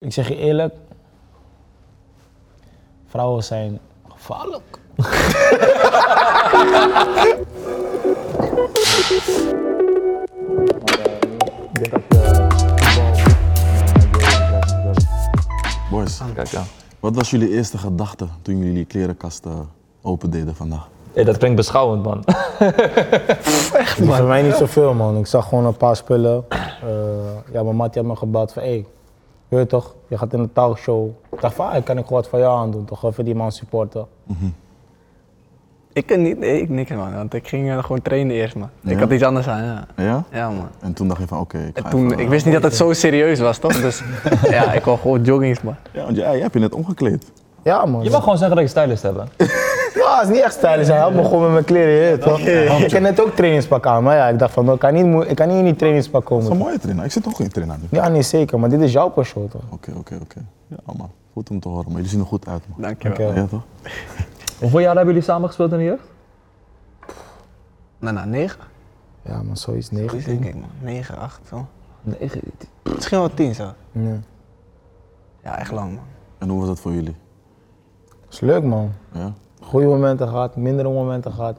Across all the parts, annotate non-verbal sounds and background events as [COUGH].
Ik zeg je eerlijk, vrouwen zijn [LAUGHS] gevaarlijk. Boys, Kijk ja. wat was jullie eerste gedachte toen jullie die klerenkast eh, open deden vandaag? Hey, dat klinkt beschouwend man. [LAUGHS] Maar voor mij niet zoveel man. Ik zag gewoon een paar spullen. Eh, ja, mijn mattie had me gebeld van, hé, hey, weet je toch, je gaat in de talkshow. Ik dacht van, ah, kan ik gewoon wat van jou aan doen, toch even die man supporten. Ik kan niet, nee, ik niks man, want ik ging eh, gewoon trainen eerst man. Ik had iets anders aan, ja. Ja? Ja man. En toen dacht je van oké, ik ga En toen, even, ik wist niet dat het zo serieus was toch, dus ja, ik wou gewoon joggings man. Ja, want jij, jij hebt je net omgekleed. Ja man. Je mag gewoon zeggen dat ik stylist heb. hè. Ja, is niet echt stylish. Hij helpt me gewoon met mijn kleren, je weet toch. Ik had net ook trainingspak aan, maar ja, ik dacht van, nou, ik kan niet, moe- ik kan niet in die trainingspak Dat is een komen. mooie trainer. Ik zit ook in trainer nu. Oké, Ja, nee, zeker, maar dit is jouw persoon toch. oké, oké. Ja man, goed om te horen. Maar jullie zien er goed uit man. Dankjewel. Oké. Ja toch? Hoeveel jaar hebben jullie samen gespeeld in de jeugd? Nou, nou, negen? Ja man, zoiets Wie 19. denk ik man, negen, acht zo. Negen. Misschien wel tien zo. Ja. Ja, echt lang man. En hoe was dat voor jullie? Is leuk man. Ja? goede momenten gehad, mindere momenten [LAUGHS] gehad.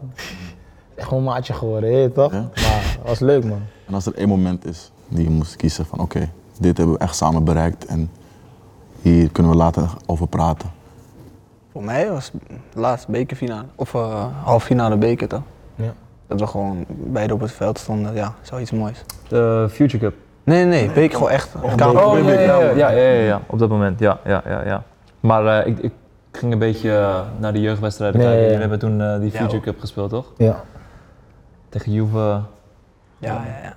Echt gewoon maatje geworden, hè, toch? Ja. Maar het was leuk, man. En als er één moment is die je moest kiezen van oké, dit hebben we echt samen bereikt en hier kunnen we later over praten. Voor mij was het laatst bekerfinale, of eh halffinale beker toch. Ja. Dat we gewoon beide op het veld stonden, ja, zoiets moois. De Future Cup. Nee, nee, nee, beker gewoon echt. eh, Kamer- Oh, ja, ja, ja, ja, ja, ja, ja, op dat moment, ja, ja, ja. ja. Maar eh, ik, ik ging een beetje eh, naar de jeugdwedstrijden Nee, kijken. ja, ja. Jullie hebben toen eh, die Ja, Future hoor. Cup gespeeld, toch? Ja. Tegen Juve. Ja, ja, ja.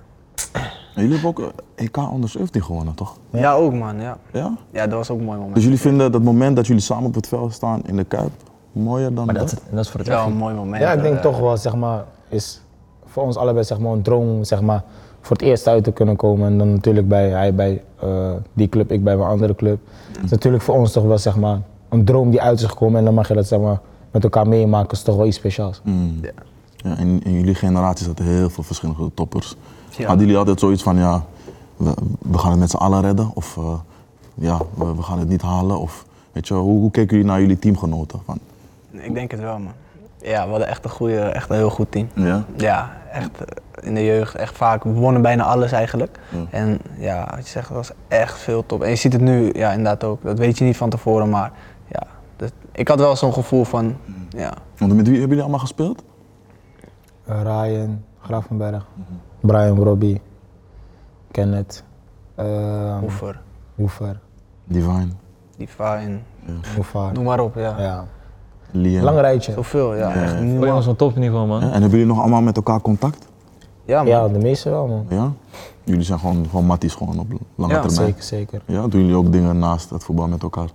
En jullie hebben ook eh, EK onder 17 gewonnen toch? Ja, ook man, ja. Ja? Ja, dat was ook een mooi moment. Dus jullie vinden dat moment dat jullie samen op het veld staan in de Kuip mooier dan Maar dat? dat, dat is voor het Het is wel echt- een mooi moment. ja, ik denk eh, toch wel, zeg maar, is voor ons allebei zeg maar, een droom om zeg maar, voor het eerst uit te kunnen komen. En dan natuurlijk bij hij bij eh, die club, ik bij mijn andere club. Het is natuurlijk voor ons toch wel zeg maar, een droom die uit is gekomen. En dan mag je dat zeg maar, met elkaar meemaken, is toch wel iets speciaals. Ja, in, in jullie generatie zaten heel veel verschillende toppers. Ja. Hadden jullie altijd zoiets van, ja, we, we gaan het met z'n allen redden? Of eh, ja, we, we gaan het niet halen? Of weet je, wel, hoe, hoe keken jullie naar jullie teamgenoten? Van, Ik denk het wel, man. Ja, we hadden echt een, goede, echt een heel goed team. ja? Ja, echt eh, in de jeugd, echt vaak. We wonnen bijna alles eigenlijk. En ja, wat je zegt, dat was echt veel top. En je ziet het nu, ja, inderdaad ook. Dat weet je niet van tevoren, maar ja. dat- ik had wel zo'n gevoel van, ja. Want met wie hebben jullie allemaal gespeeld? Eh, Ryan, Grafenberg, Brian Robbie, Kenneth, eh, Hoever, Hoever, Divine, die Fijn, Hoevaar. noem maar op, ja. Ja. Liam. Lang rijtje. Zoveel, ja. Echt niet Oh, Voor Oh, jongens normaal. van topniveau, man. Ja, en hebben jullie nog allemaal met elkaar contact? Ja, man. Ja, de meeste wel, man. Ja? Jullie zijn gewoon, gewoon matties gewoon op lange Ja, termijn. Zeker, zeker. Ja, doen jullie ook dingen naast het voetbal met elkaar? Ik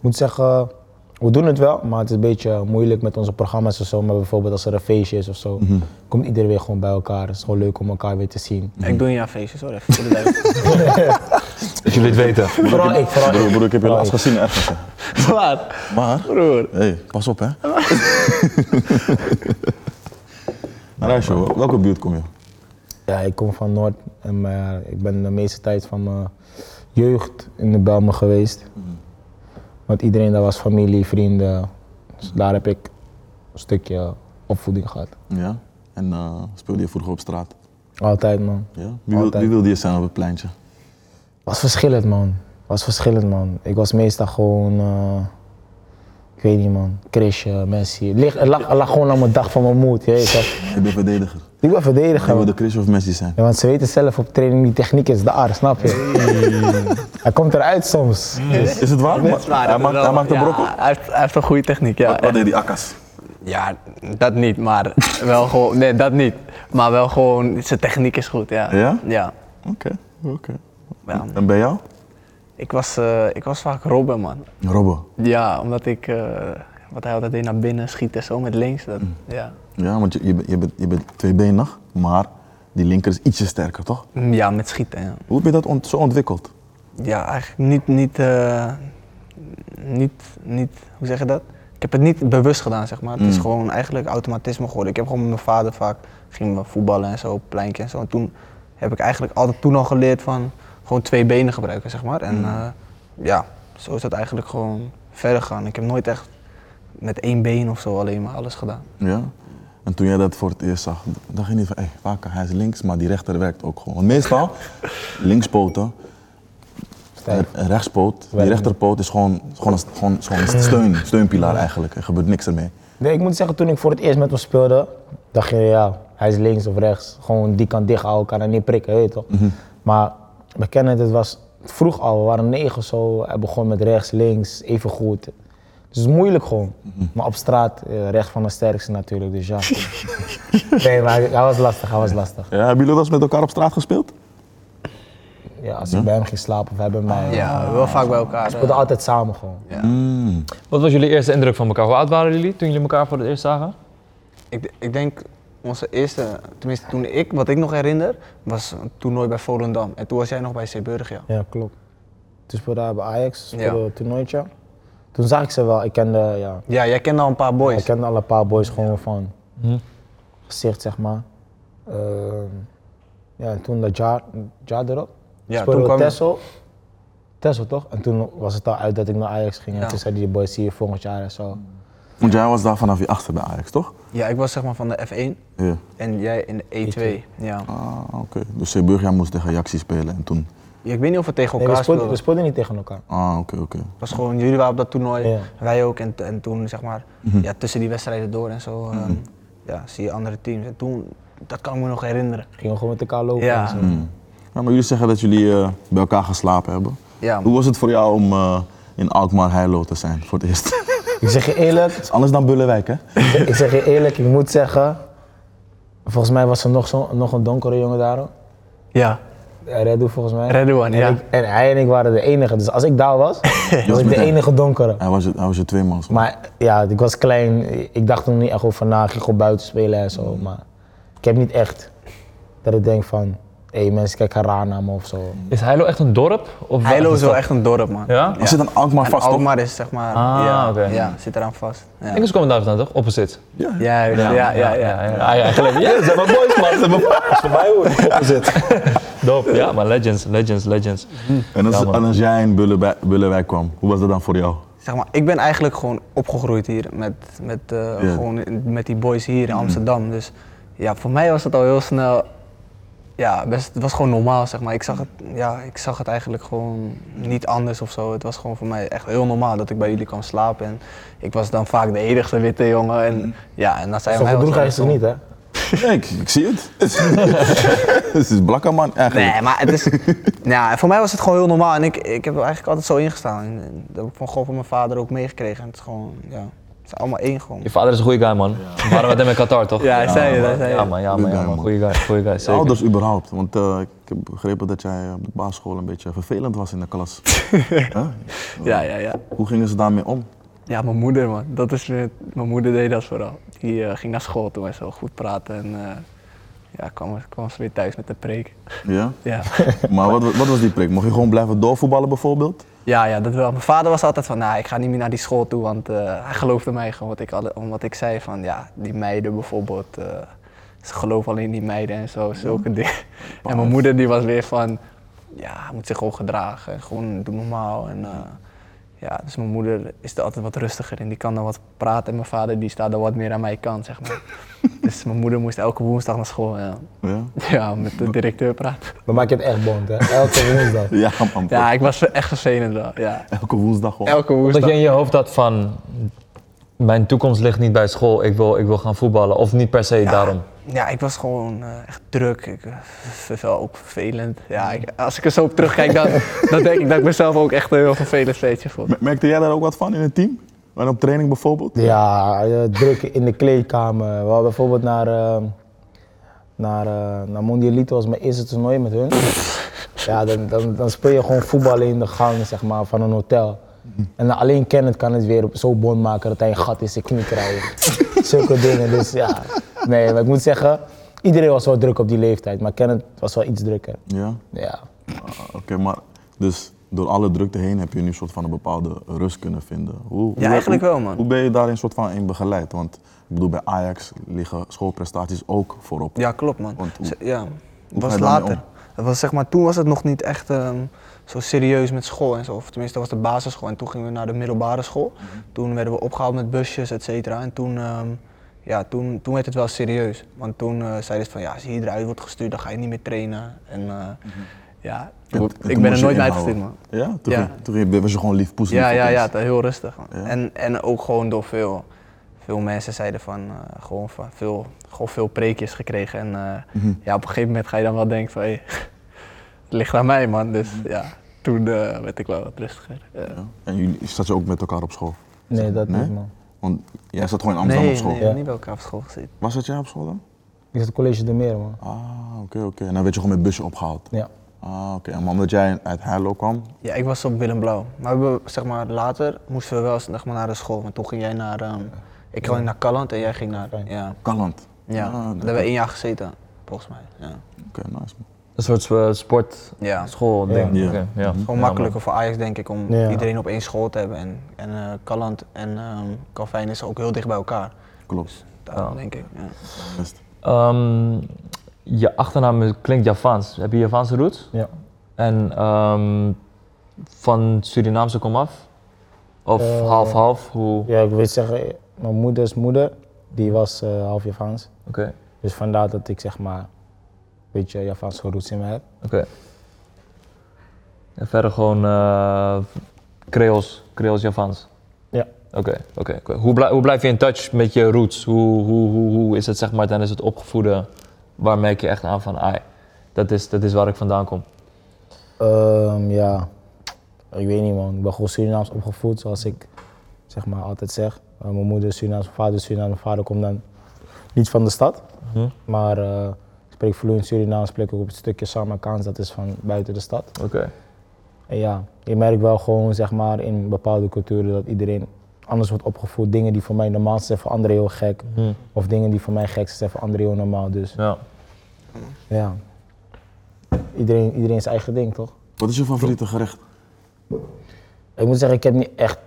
moet zeggen, we doen het wel, maar het is een beetje moeilijk met onze programma's of zo. Maar bijvoorbeeld als er een feestje is of zo, Mhm. komt iedereen weer gewoon bij elkaar. Het is gewoon leuk om elkaar weer te zien. Ik doe niet aan feestjes hoor, even voor de [LAUGHS] duidelijkheid. Dat jullie het weten. Oh. Vooral ik, vooral Broer, ik. broer, ik heb je Vooral laatst gezien ergens. hè. Zwaar. Maar, Broer. hey, pas op [LAUGHS] hè. Rijsjo, welke buurt kom je? Ja, ik kom van Noord, en maar ik ben de meeste tijd van mijn jeugd in de Belmen geweest. Mhm. Want iedereen daar was familie, vrienden. Dus daar heb ik een stukje opvoeding gehad. Ja. En eh, speelde je vroeger op straat? Altijd, man. Ja. Wie, wil, Altijd. wie wilde je zijn op het pleintje? Was verschillend, man. Was verschillend, man. Ik was meestal gewoon. eh, ik weet niet, man. Chrisje, Messi. Het ligt- Het lag, het lag gewoon aan mijn dag van mijn moed. Je weet toch? Ik ben verdediger. ik ben verdediger. Jij man. wilde Chris of Messi zijn. Ja, want ze weten zelf op training, die techniek is daar, snap je? Hij komt eruit soms. Is, is het waar? Dat is waar, hij, dat maakt, is wel- hij maakt een ja, brok op? Hij heeft, hij heeft een goede techniek, ja. Wat, wat deed die akkas? Ja, dat niet, maar wel gewoon. Nee, dat niet. Maar wel gewoon, zijn techniek is goed, ja. Ja? Ja. Oké, oké. ja. En bij jou? Ik, was, eh, ik was vaak Robben, man. Robbo. Ja, omdat ik. eh, wat hij altijd deed naar binnen schieten, zo met links. Dat, ja. Ja, want je, je, bent- je, bent, je bent tweebenig, maar die linker is ietsje sterker, toch? Mm, ja, met schieten. Ja, Hoe heb je dat ont- zo ontwikkeld? ja eigenlijk niet. niet, eh, niet, niet hoe zeg je dat? Ik heb het niet bewust gedaan, zeg maar. Het is Mm. gewoon eigenlijk automatisme geworden. Ik heb gewoon met mijn vader vaak, gingen we voetballen en zo, op pleintje en zo. En toen heb ik eigenlijk altijd toen al geleerd van gewoon twee benen gebruiken, zeg maar. En eh, ja, zo is dat eigenlijk gewoon verder gegaan. Ik heb nooit echt met één been of zo alleen maar alles gedaan. Ja? En toen jij dat voor het eerst zag, dacht je niet van, hé, vaak hij is links, maar die rechter werkt ook gewoon. Want [LAUGHS] meestal, linkspoten, en Stijf. een rechtspoot, die Werkt rechterpoot is gewoon, is gewoon, een, gewoon, is gewoon een steun, [CLEARS THROAT] steunpilaar eigenlijk. Er gebeurt niks ermee. Nee, ik moet zeggen, toen ik voor het eerst met hem speelde, dacht je, ja, hij is links of rechts. Gewoon die kant dicht houden, kan hij niet prikken, weet je toch? Mhm. Maar we kennen het, het was vroeg al, we waren negen zo. Hij begon met rechts, links, even goed. Dus het is moeilijk gewoon. Mhm. Maar op straat, eh, recht van de sterkste natuurlijk, dus ja. [LAUGHS] nee, maar hij, hij was lastig, hij was lastig. Ja, hebben jullie wel eens met elkaar op straat gespeeld? Ja, als ik bij hem ging slapen of hij bij mij. We Mhm. Ja, wel vaak bij elkaar. eh, speelden altijd samen gewoon. Wat was jullie eerste indruk van elkaar? Hoe oud waren jullie toen jullie elkaar voor het eerst zagen? Ik, ik denk onze eerste, tenminste toen ik, wat ik nog herinner, was een toernooi bij Volendam. En toen was jij nog bij Zeeburg, ja. Ja, klopt. Toen speelde hij bij Ajax, Ja. speelde een toernooitje. Toen zag ik ze wel, ik kende, ja, Ja, jij kende al een paar boys. Ik kende al een paar boys gewoon van Hm. gezicht, zeg maar. Ehm, ja, en toen dat jaar, jaar erop. Ja, speelden toen we kwam- Texel. Texel toch? En toen was het al uit dat ik naar Ajax ging. Ja. En toen zei die boys, zie je volgend jaar en zo. Want jij was daar vanaf je achter bij Ajax, toch? Ja, ik was zeg maar van de F1 Ja. en jij in de E2. Ja. Ah, oké. Dus Zeeburgia moest tegen Ajaxi spelen en toen... Ja, ik weet niet of we tegen Nee, we, speelden, elkaar speelden. we Het speelden niet tegen elkaar. Ah, oké, oké. was gewoon, jullie waren op dat toernooi, Ja. wij ook. En, t- en toen zeg maar, ja, tussen die wedstrijden door en zo, ehm, ja, zie je andere teams. En toen, dat kan ik me nog herinneren. Gingen gewoon met elkaar lopen Ja. Hm. en zo. Ja, maar jullie zeggen dat jullie eh, bij elkaar geslapen hebben. Ja, Hoe was het voor jou om eh, in Alkmaar Heilo te zijn voor het eerst? [LAUGHS] Het Ik zeg je eerlijk, is anders dan Bullenwijk, hè? ik zeg je eerlijk, ik moet zeggen. Volgens mij was er nog, zo, nog een donkere jongen daar. hoor. ja. Redu volgens mij. Redouan, en ja. ik- en hij en ik waren de enige. Dus als ik daar [LAUGHS] was, was ik de meteen. enige donkere. Hij was, je- hij was je twee man. Maar ja, ik was klein. Ik dacht er niet echt over na. Ik ging gewoon buiten spelen en zo. Maar ik heb niet echt dat ik denk van... Hé, mensen kijken raar naar me of zo. Is Heilo echt een dorp? Of Heilo is wel stad? echt een dorp, man. Ja? Er zit aan Alkmaar En vast, toch? Alkmaar is zeg maar, Ah, ja, oké. ja, zit eraan vast. Ja. Engels komen daar vandaan toch? Opposite. Ah, Ja, ja, ja, ja, ja. ja, ja, [LAUGHS] gelijk. Ja, ze hebben boys, man. Ze hebben boys. Voor mij hoor. Opposite. Dope. Ja, maar legends, legends, legends. En als, Ja, man. en als jij in Bullenwijk, Bullenwijk kwam, hoe was dat dan voor jou? Zeg maar, ik ben eigenlijk gewoon opgegroeid hier met, met, eh, gewoon in- met die boys hier in Amsterdam. Dus ja, voor mij was het al heel snel. Ja, best, het was gewoon normaal, zeg maar. Ik zag, het, ja, ik zag het eigenlijk gewoon niet anders of zo. Het was gewoon voor mij echt heel normaal dat ik bij jullie kan slapen. En ik was dan vaak de enigste witte jongen. En, ja, en dan zei Zo mij verdroeg was hij zich niet, hè? Nee, ik, ik zie [LAUGHS] het. Het is blakker man, eigenlijk. Nee, maar het [LAUGHS] is. ja, voor mij was het gewoon heel normaal. En ik, ik heb er eigenlijk altijd zo ingestaan. En, en dat heb ik van God van mijn vader ook meegekregen. En het is gewoon, ja. Het is allemaal één gewoon. Je vader is een goede guy, man. We waren met hem in Qatar, toch? Ja, hij zei het, hij man. zei Ja, het. man, ja, man, ja, man. Goeie guy, goeie guy, Je zeker. ouders überhaupt, want eh, ik heb begrepen dat jij op de basisschool een beetje vervelend was in de klas. Huh? Ja, ja, ja. Hoe gingen ze daarmee om? Ja, mijn moeder, man. Dat is, weer- mijn moeder deed dat vooral. Die eh, ging naar school toen en zo goed praten. En eh, ja, kwam, kwam ze weer thuis met de preek. Ja? Ja. Maar wat, wat was die prik? Mocht je gewoon blijven doorvoetballen bijvoorbeeld? ja, ja, dat wel. Mijn vader was altijd van, nou, ik ga niet meer naar die school toe. Want eh, hij geloofde mij gewoon wat ik, alle, wat ik zei. Van ja, die meiden bijvoorbeeld. eh, ze geloven alleen die meiden en zo, zulke dingen. En mijn moeder die was weer van, ja, hij moet zich gewoon gedragen. en Gewoon doe normaal. En, eh, ja, dus mijn moeder is er altijd wat rustiger in. Die kan dan wat praten. En mijn vader die staat dan wat meer aan mijn kant, zeg maar. dus mijn moeder moest elke woensdag naar school. Ja, Ja, ja met de directeur praten. Dan maak je het echt bond, hè? [LAUGHS] Elke woensdag. ja man. Ja, ik was echt vervelend wel, ja. Elke woensdag gewoon. Elke woensdag. Dat je in je hoofd had van... Mijn toekomst ligt niet bij school, ik wil, ik wil gaan voetballen. Of niet per se daarom. Ja, ik was gewoon eh, echt druk. Ik eh, v- wel ook vervelend. Ja, ik- als ik er zo op [LAUGHS] terugkijk, dan, dan denk ik dat ik mezelf ook echt een heel vervelend steentje vond. Me- Merkte jij daar ook wat van in het team? En op training bijvoorbeeld? Ja, eh, druk in de kleedkamer. We hadden bijvoorbeeld naar, eh, naar, eh, naar Mondialito was mijn eerste toernooi met hun. Ja, dan, dan, dan speel je gewoon voetbal in de gang zeg maar, van een hotel. En alleen Kenneth kan het weer op- zo bond maken dat hij een gat in zijn knie krijgt. Zulke dingen, dus ja. Nee, maar ik moet zeggen, iedereen was wel druk op die leeftijd. Maar Kenneth was wel iets drukker. Ja. Ja, Ah, Oké, maar dus door alle drukte heen heb je nu een soort van een bepaalde rust kunnen vinden. Hoe, hoe- eigenlijk hoe- wel, man. Hoe ben je daarin soort van in begeleid? Want ik bedoel, bij Ajax liggen schoolprestaties ook voorop. Ja, klopt man. Want hoe- Z- ja, hoe was ga je daarmee later. om? Het was, zeg maar, toen was het nog niet echt ehm, zo serieus met school en zo. Of tenminste, dat was de basisschool. En toen gingen we naar de middelbare school. Mhm. Toen werden we opgehaald met busjes, et cetera. En toen, ehm, ja, toen, toen werd het wel serieus. Want toen eh, zeiden ze van, ja, als je hier eruit wordt gestuurd, dan ga je niet meer trainen. En eh, ja, Mhm. En- en toen ik ben moest er je nooit meer inhouden. uitgestuurd, man. Ja? Toen, Ja. ging- toen ging- was je gewoon lief poes. Ja, lief ja, opeens. ja, het was heel rustig. man. Ja. En, en ook gewoon door veel, veel mensen zeiden van, eh, gewoon, van veel, gewoon veel preekjes gekregen. En eh, Mhm. ja, op een gegeven moment ga je dan wel denken van, hey, [LAUGHS] het ligt aan mij man. Dus ja, toen eh, werd ik wel wat rustiger. Eh, Mhm. Ja. En jullie zat je ook met elkaar op school? Nee, dat Nee? niet man. Want jij zat gewoon in Amsterdam nee, op school. nee, Ja. niet bij elkaar op school gezeten. Waar zat jij op school dan? Ik zat college de meer man. Ah, oké, oké. En dan werd je gewoon met busje opgehaald. Ja. Ah, oké. En omdat jij uit Heilo kwam, Ja, ik was op Willem Blauw. Maar we, zeg maar, later moesten we wel zeg maar, naar de school. Want toen ging jij naar, ehm, ik ging naar Calland en jij ging naar, Fijn. ja. Kalland. Ja, Ah, daar dat- hebben we één jaar gezeten, volgens mij. Ja. Oké, nice man. Een soort eh, sport, Ja. school ding. Ja. Oké, ja. Gewoon Ja, makkelijker voor Ajax, denk ik, om Ja. iedereen op één school te hebben. En, en eh Calland en ehm Calvijn is ook heel dicht bij elkaar. Klopt. Daarom Ja. denk ik. Ja. Best. Ehm, je achternaam klinkt Javaans. Heb je Javaanse roots? Ja. En ehm, van Surinaamse komaf? Of Eh, half-half? Hoe? Ja, ik weet zeggen, eh, mijn moeders moeder, die was eh, half Javaans. Oké, Dus vandaar dat ik zeg maar een beetje Javaanse roots in me heb. oké. En verder gewoon eh Creools, Creools-Javaans? Ja. Oké, oké. oké. Hoe, blij- hoe blijf je in touch met je roots? Hoe, hoe, hoe, hoe is het zeg maar tijdens het opgevoeden? Waar merk je echt aan van, ai, dat is, dat is waar ik vandaan kom? Ehm, ja, ik weet niet man. Ik ben gewoon Surinaams opgevoed, zoals ik zeg maar altijd zeg. Eh, mijn moeder is Surinaams, mijn vader is Surinaams. Mijn vader komt dan niet van de stad. Mhm. Maar eh, ik spreek vloeiend Surinaams, spreek ook op het stukje Samakaans, dat is van buiten de stad. Oké. En ja, je merkt wel gewoon zeg maar in bepaalde culturen dat iedereen anders wordt opgevoed. Dingen die voor mij normaal zijn, voor anderen heel gek. Hm, Of dingen die voor mij gek zijn, voor anderen heel normaal. Dus Ja. ja, iedereen, iedereen zijn eigen ding toch? Wat is je favoriete gerecht? Ik moet zeggen, ik heb niet echt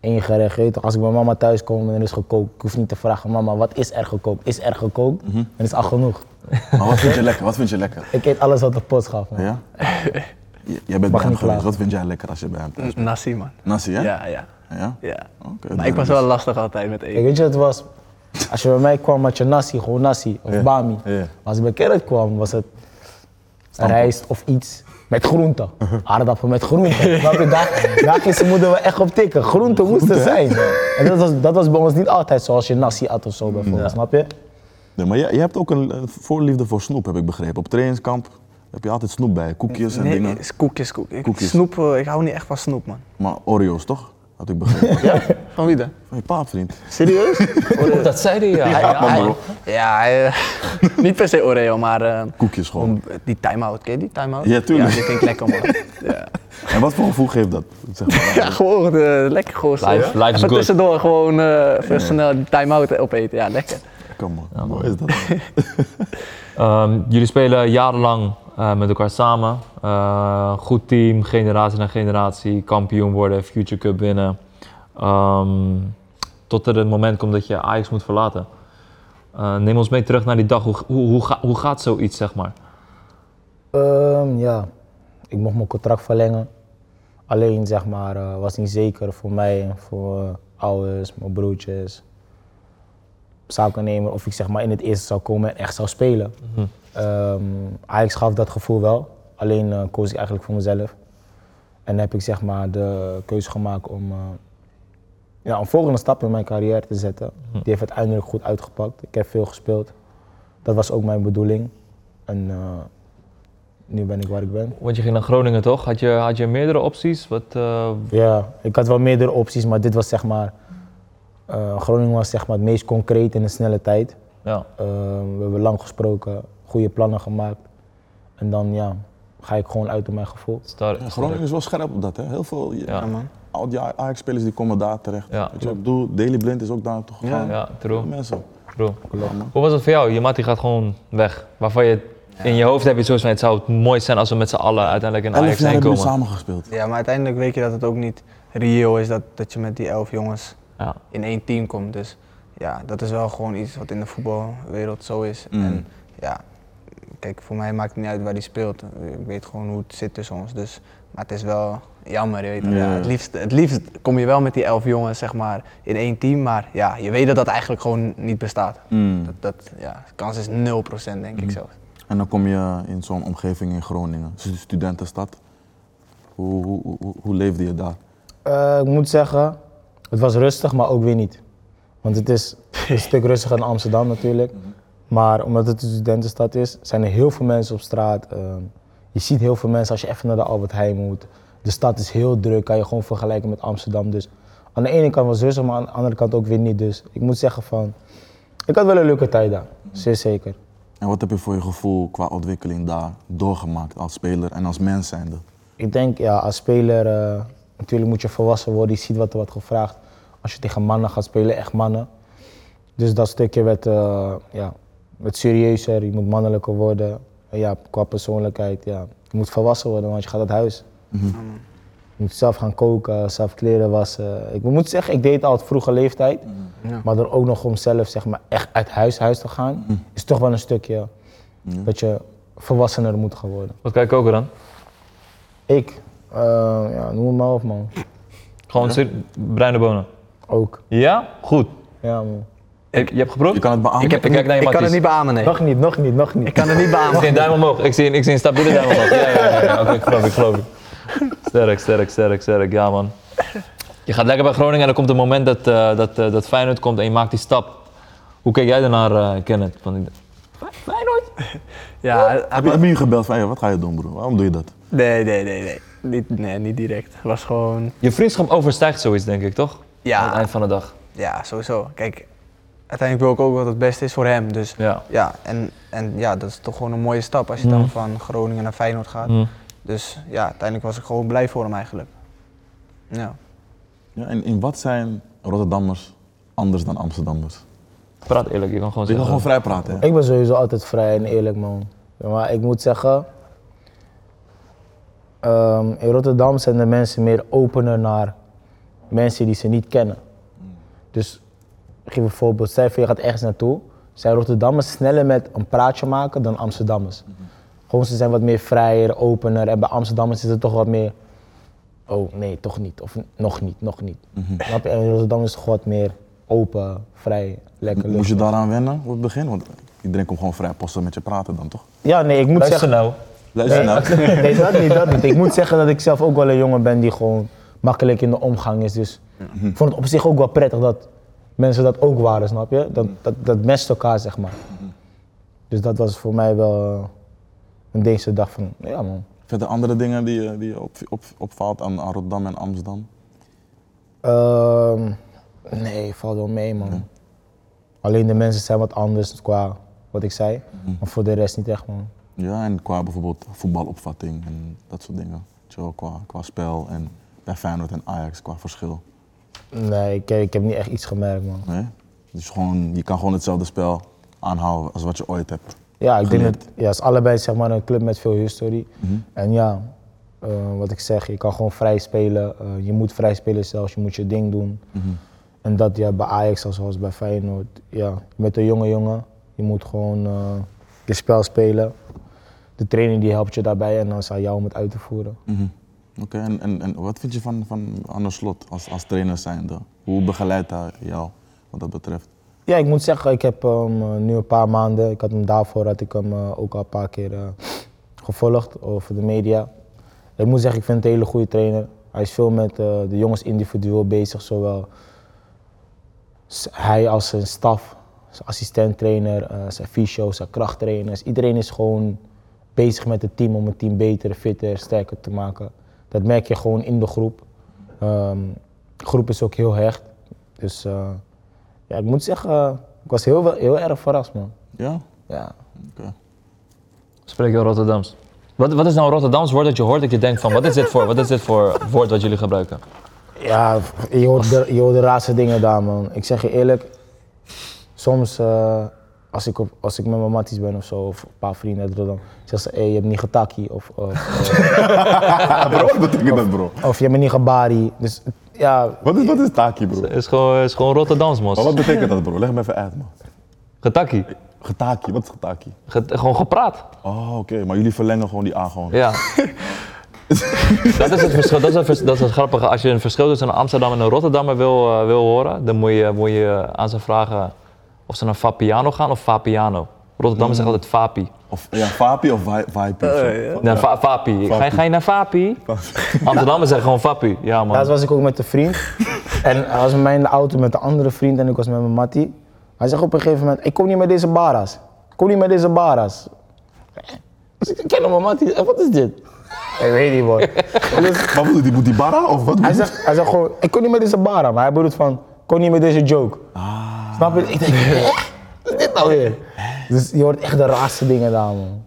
één gerecht. je weet toch, Als ik bij mama thuis kom en er is gekookt, ik hoef niet te vragen, mama, wat is er gekookt? Is er gekookt? Dan is al genoeg. Maar wat vind je lekker? Wat vind je lekker? Ik eet alles wat de pot gaf. man. Ja? J- jij bent bij niet hem geweest. klagen. Wat vind jij lekker als je bij hem thuis bent? Nassi, man. Nasi, hè? Ja, ja. Ja? ja. Oké, maar ik was wel lastig altijd met Ik eten. weet je wat het was? Als je bij mij kwam had je nasi, gewoon nasi of Ja. bami. Ja. Maar Als ik bij Kerrit kwam was het rijst of iets met groente. Aardappel met groente. Snap je? Daar, daar ging zijn moeder wel echt op tikken. Groente moest er zijn. En dat was, dat was bij ons niet altijd zoals je nasi at of zo bijvoorbeeld, snap je? Nee, maar jij, jij hebt ook een eh, voorliefde voor snoep, heb ik begrepen. Op trainingskamp heb je altijd snoep bij, koekjes en Nee, dingen. is koekjes, koekjes. Koekjes. Snoep, eh, ik hou niet echt van snoep, man. Maar Oreo's toch? Had ik begrepen. Van wie dan? Van je paap, vriend. Serieus? Oreo. Dat zei hij, ja. Ja, man, bro. [LAUGHS] Ja, eh, [LAUGHS] niet per se Oreo, maar eh, Koekjes gewoon. om- die time-out, ken je die time-out? Ja, tuurlijk. Ja, dit klinkt lekker, man. ja. En wat voor gevoel geeft dat? Zeg maar. Ja, gewoon eh, lekker gewoon zo. Life- life's Even good. tussendoor gewoon eh even snel die time-out opeten. Ja, lekker. Kom man, hoe is dat? Ehm, jullie spelen jarenlang eh, met elkaar samen. Eh, goed team, generatie na generatie, kampioen worden, Future Cup winnen. Ehm, tot er een moment komt dat je Ajax moet verlaten. Eh, neem ons mee terug naar die dag. Hoe, hoe, hoe, ga- hoe gaat zoiets, zeg maar? Ehm, ja, ik mocht mijn contract verlengen. Alleen zeg maar, eh, was niet zeker voor mij en voor eh, ouders, mijn broertjes, zakennemer, of ik zeg maar in het eerste zou komen en echt zou spelen. Ehm, Ajax gaf dat gevoel wel, alleen eh, koos ik eigenlijk voor mezelf. En heb ik zeg maar de keuze gemaakt om eh, ja, een volgende stap in mijn carrière te zetten. Die heeft uiteindelijk goed uitgepakt. Ik heb veel gespeeld. Dat was ook mijn bedoeling. En eh, nu ben ik waar ik ben. Want je ging naar Groningen, toch? Had je, had je meerdere opties? Wat, eh, Ja, ik had wel meerdere opties, maar dit was zeg maar. eh, Groningen was zeg maar het meest concreet in een snelle tijd. ja. Eh, we hebben lang gesproken, goede plannen gemaakt. En dan ja, ga ik gewoon uit op mijn gevoel. Sterk, sterk. Groningen is wel scherp op dat, hè? Heel veel Ja. man. oud Ajax-spelers die komen daar terecht. Ja. Weet je wat ik bedoel? Daily Blind is ook daar naartoe gegaan. Ja, Die true, Mensen. true. Ja, man. Hoe was het voor jou? Je maat die gaat gewoon weg. Waarvan je in je hoofd heb je zoiets van, het zou het mooi zijn als we met z'n allen uiteindelijk in Elf Ajax jaar heen hebben we komen. samen gespeeld. Ja, maar uiteindelijk weet je dat het ook niet reëel is dat, dat je met die elf jongens Ja. in één team komt. Dus ja, dat is wel gewoon iets wat in de voetbalwereld zo is. Mm. En ja, kijk, voor mij maakt het niet uit waar die speelt. Ik weet gewoon hoe het zit tussen ons. Dus Maar het is wel jammer, je weet het. Ja. Ja, het, liefst, het liefst kom je wel met die elf jongens zeg maar, in één team, maar ja, je weet dat dat eigenlijk gewoon niet bestaat. Dat, dat, ja, de kans is 0% denk ik zelf. En dan kom je in zo'n omgeving in Groningen, Dus Het is een studentenstad. Hoe, hoe, hoe, hoe leefde je daar? Eh, ik moet zeggen, het was rustig, maar ook weer niet. Want het is een stuk rustiger dan Amsterdam natuurlijk. Maar omdat het een studentenstad is, zijn er heel veel mensen op straat. Ehm, je ziet heel veel mensen als je even naar de Albert Heijn moet. De stad is heel druk, kan je gewoon vergelijken met Amsterdam. Dus aan de ene kant was het rustig, maar aan de andere kant ook weer niet. Dus ik moet zeggen van, ik had wel een leuke tijd daar. Zeer zeker. En wat heb je voor je gevoel qua ontwikkeling daar doorgemaakt als speler en als mens zijnde? Ik denk, ja, als speler, eh, natuurlijk moet je volwassen worden, je ziet wat er wordt gevraagd. Als je tegen mannen gaat spelen, echt mannen. Dus dat stukje werd, eh, ja, werd serieuzer, je moet mannelijker worden. En ja, qua persoonlijkheid, ja. Je moet volwassen worden, want je gaat uit huis. Je moet zelf gaan koken, zelf kleren wassen. Ik moet zeggen, ik deed het al op vroege leeftijd. Maar dan ook nog om zelf zeg maar, echt uit huis, huis te gaan, is toch wel een stukje dat je volwassener moet gaan worden. Wat kijk ook dan? Ik? Eh, ja, noem het maar op, man. Gewoon zin- bruine bonen. Ook. Ja? Goed. Ja, man. Ik, je hebt geproefd? Je kan het beamen. Ik, heb, ik kijk naar je Ik kan het niet matties. beamen, nee. Nog niet, nog niet, nog niet. Ik kan het niet Ik zie beamen. een duim omhoog. Ik zie een, ik zie een stabiele duim omhoog. Ja, ja, ja. ja. Oké, ik geloof, ik geloof. Sterk, sterk, sterk, sterk. Ja, man. Je gaat lekker bij Groningen en er komt een moment dat, eh dat, eh, dat Feyenoord komt en je maakt die stap. Hoe kijk jij daarnaar, eh Kenneth? Van die- [LAUGHS] Ja, Heb je, heb je je gebeld van, hey, wat ga je doen broer? Waarom doe je dat? nee, nee, nee, nee. Niet, nee, niet direct. Het was gewoon Je vriendschap overstijgt zoiets, denk ik, toch? Ja. Aan het eind van de dag. Ja, sowieso. Kijk, uiteindelijk wil ik ook wat het beste is voor hem. Dus Ja. ja, en, en ja, dat is toch gewoon een mooie stap als je dan van Groningen naar Feyenoord gaat. Dus ja, uiteindelijk was ik gewoon blij voor hem eigenlijk. Ja. Ja, en in wat zijn Rotterdammers anders dan Amsterdammers? Praat eerlijk, je kan gewoon Je kan zeggen. gewoon vrij praten. hè? Ik ben sowieso altijd vrij en eerlijk, man. Ja, Maar ik moet zeggen, ehm, in Rotterdam zijn de mensen meer opener naar mensen die ze niet kennen. Dus ik geef een voorbeeld, stel je voor, je gaat ergens naartoe, zijn Rotterdammers sneller met een praatje maken dan Amsterdammers. Gewoon ze zijn wat meer vrijer, opener en bij Amsterdammers is het toch wat meer, oh nee, toch niet, of nog niet, nog niet. Snap je? En in Rotterdam is het gewoon wat meer open, vrij, lekker. Moest je luchtig. daaraan wennen op het begin? Want iedereen komt gewoon vrij posten met je praten dan toch? Ja, nee, ik moet Luister zeggen. nou. Luister nou. [LAUGHS] Nee, dat niet, dat niet. Ik moet zeggen dat ik zelf ook wel een jongen ben die gewoon makkelijk in de omgang is. Dus ik vond het op zich ook wel prettig dat mensen dat ook waren, snap je? Dat, dat, dat mest elkaar, zeg maar. Dus dat was voor mij wel eh, een deze dag van, ja man. Verder andere dingen die, je- die je op, op, opvalt aan, aan Rotterdam en Amsterdam? Ehm, nee, valt wel mee man. Alleen de mensen zijn wat anders qua wat ik zei. Maar voor de rest niet echt man. Ja, en qua bijvoorbeeld voetbalopvatting en dat soort dingen. Weet je wel, qua, qua spel en bij Feyenoord en Ajax qua verschil. Nee, ik, ik heb niet echt iets gemerkt man. Nee? Dus gewoon, je kan gewoon hetzelfde spel aanhouden als wat je ooit hebt. Ja, ik denk Geleerd. dat ja, het is allebei zeg maar, een club met veel historie. En ja, eh, wat ik zeg, je kan gewoon vrij spelen. eh, je moet vrij spelen zelfs, je moet je ding doen. En dat ja, bij Ajax als- zoals bij Feyenoord. Ja, je bent een jonge jongen, je moet gewoon eh, je spel spelen. De training die helpt je daarbij en dan is het aan jou om het uit te voeren. Oké, en, en, en wat vind je van, van Arne Slot als, als trainer zijnde? Hoe begeleidt hij jou wat dat betreft? Ja, ik moet zeggen, ik heb hem eh, nu een paar maanden, ik had hem daarvoor had ik hem eh, ook al een paar keer eh, gevolgd over de media. Ik moet zeggen, ik vind het een hele goede trainer. Hij is veel met eh, de jongens individueel bezig, zowel s- hij als zijn staf, zijn assistent-trainer, eh, zijn fysio, zijn krachttrainers. Iedereen is gewoon bezig met het team om het team beter, fitter, sterker te maken. Dat merk je gewoon in de groep. Ehm, de groep is ook heel hecht. Dus eh, ja, ik moet zeggen, eh, ik was heel, wel- heel erg verrast, man. Ja? Oké. Ja. Spreek heel Rotterdams. Wat, wat is nou een Rotterdams woord dat je hoort dat je denkt van, wat is dit voor, wat is dit voor woord wat jullie gebruiken? Ja, je hoort, de, je hoort de raarste dingen daar, man. Ik zeg je eerlijk, soms eh, als, ik op, als ik met mijn matties ben of zo, of een paar vrienden uit Rotterdam, zeggen ze, hé, je hebt niet getaki, of, of, bro, wat betekent dat bro? of je hebt me niet gebari. Dus ja, Wat is, wat is taki bro? Het is gewoon, is gewoon Rotterdams, Maar mos. wat betekent dat bro? Leg me even uit man. Getakkie. Getaki, wat is Ah, getaki? Get- gewoon gepraat. [LAUGHS] Oh oké, maar jullie verlengen gewoon die A gewoon. Ja. Dat is het verschil. Dat is het, vers- dat is het grappige. Als je een verschil tussen een Amsterdam en een Rotterdammer wil, eh, wil horen, dan moet je, moet je aan ze vragen of ze naar Fapiano gaan of Fapiano. Rotterdam zegt altijd Fapi. Of ja, Fapi of Vi- Vipi. of zo. Nee, Fa- Fapi. Ga, je- ga je naar Fapi? Amsterdammer zeggen gewoon Fapi. Ja, man. Laatst was ik ook met een vriend. En hij was met mij in de auto met een andere vriend en ik was met mijn mattie. Hij zegt op een gegeven moment, ik kom niet met deze baras. Ik kom niet met deze baras. Dus ik ken mijn mattie, eh, wat is dit? Ik weet niet man. Dus Wat bedoel je, moet die barra of wat? hij, zegt, hij zegt gewoon, ik kom niet met deze bara. Maar hij bedoelt van, ik kom niet met deze joke. Ah. Snap je? [LAUGHS] Ik denk, "Hè? wat is dit nou weer? Dus je hoort echt de raarste dingen daar man.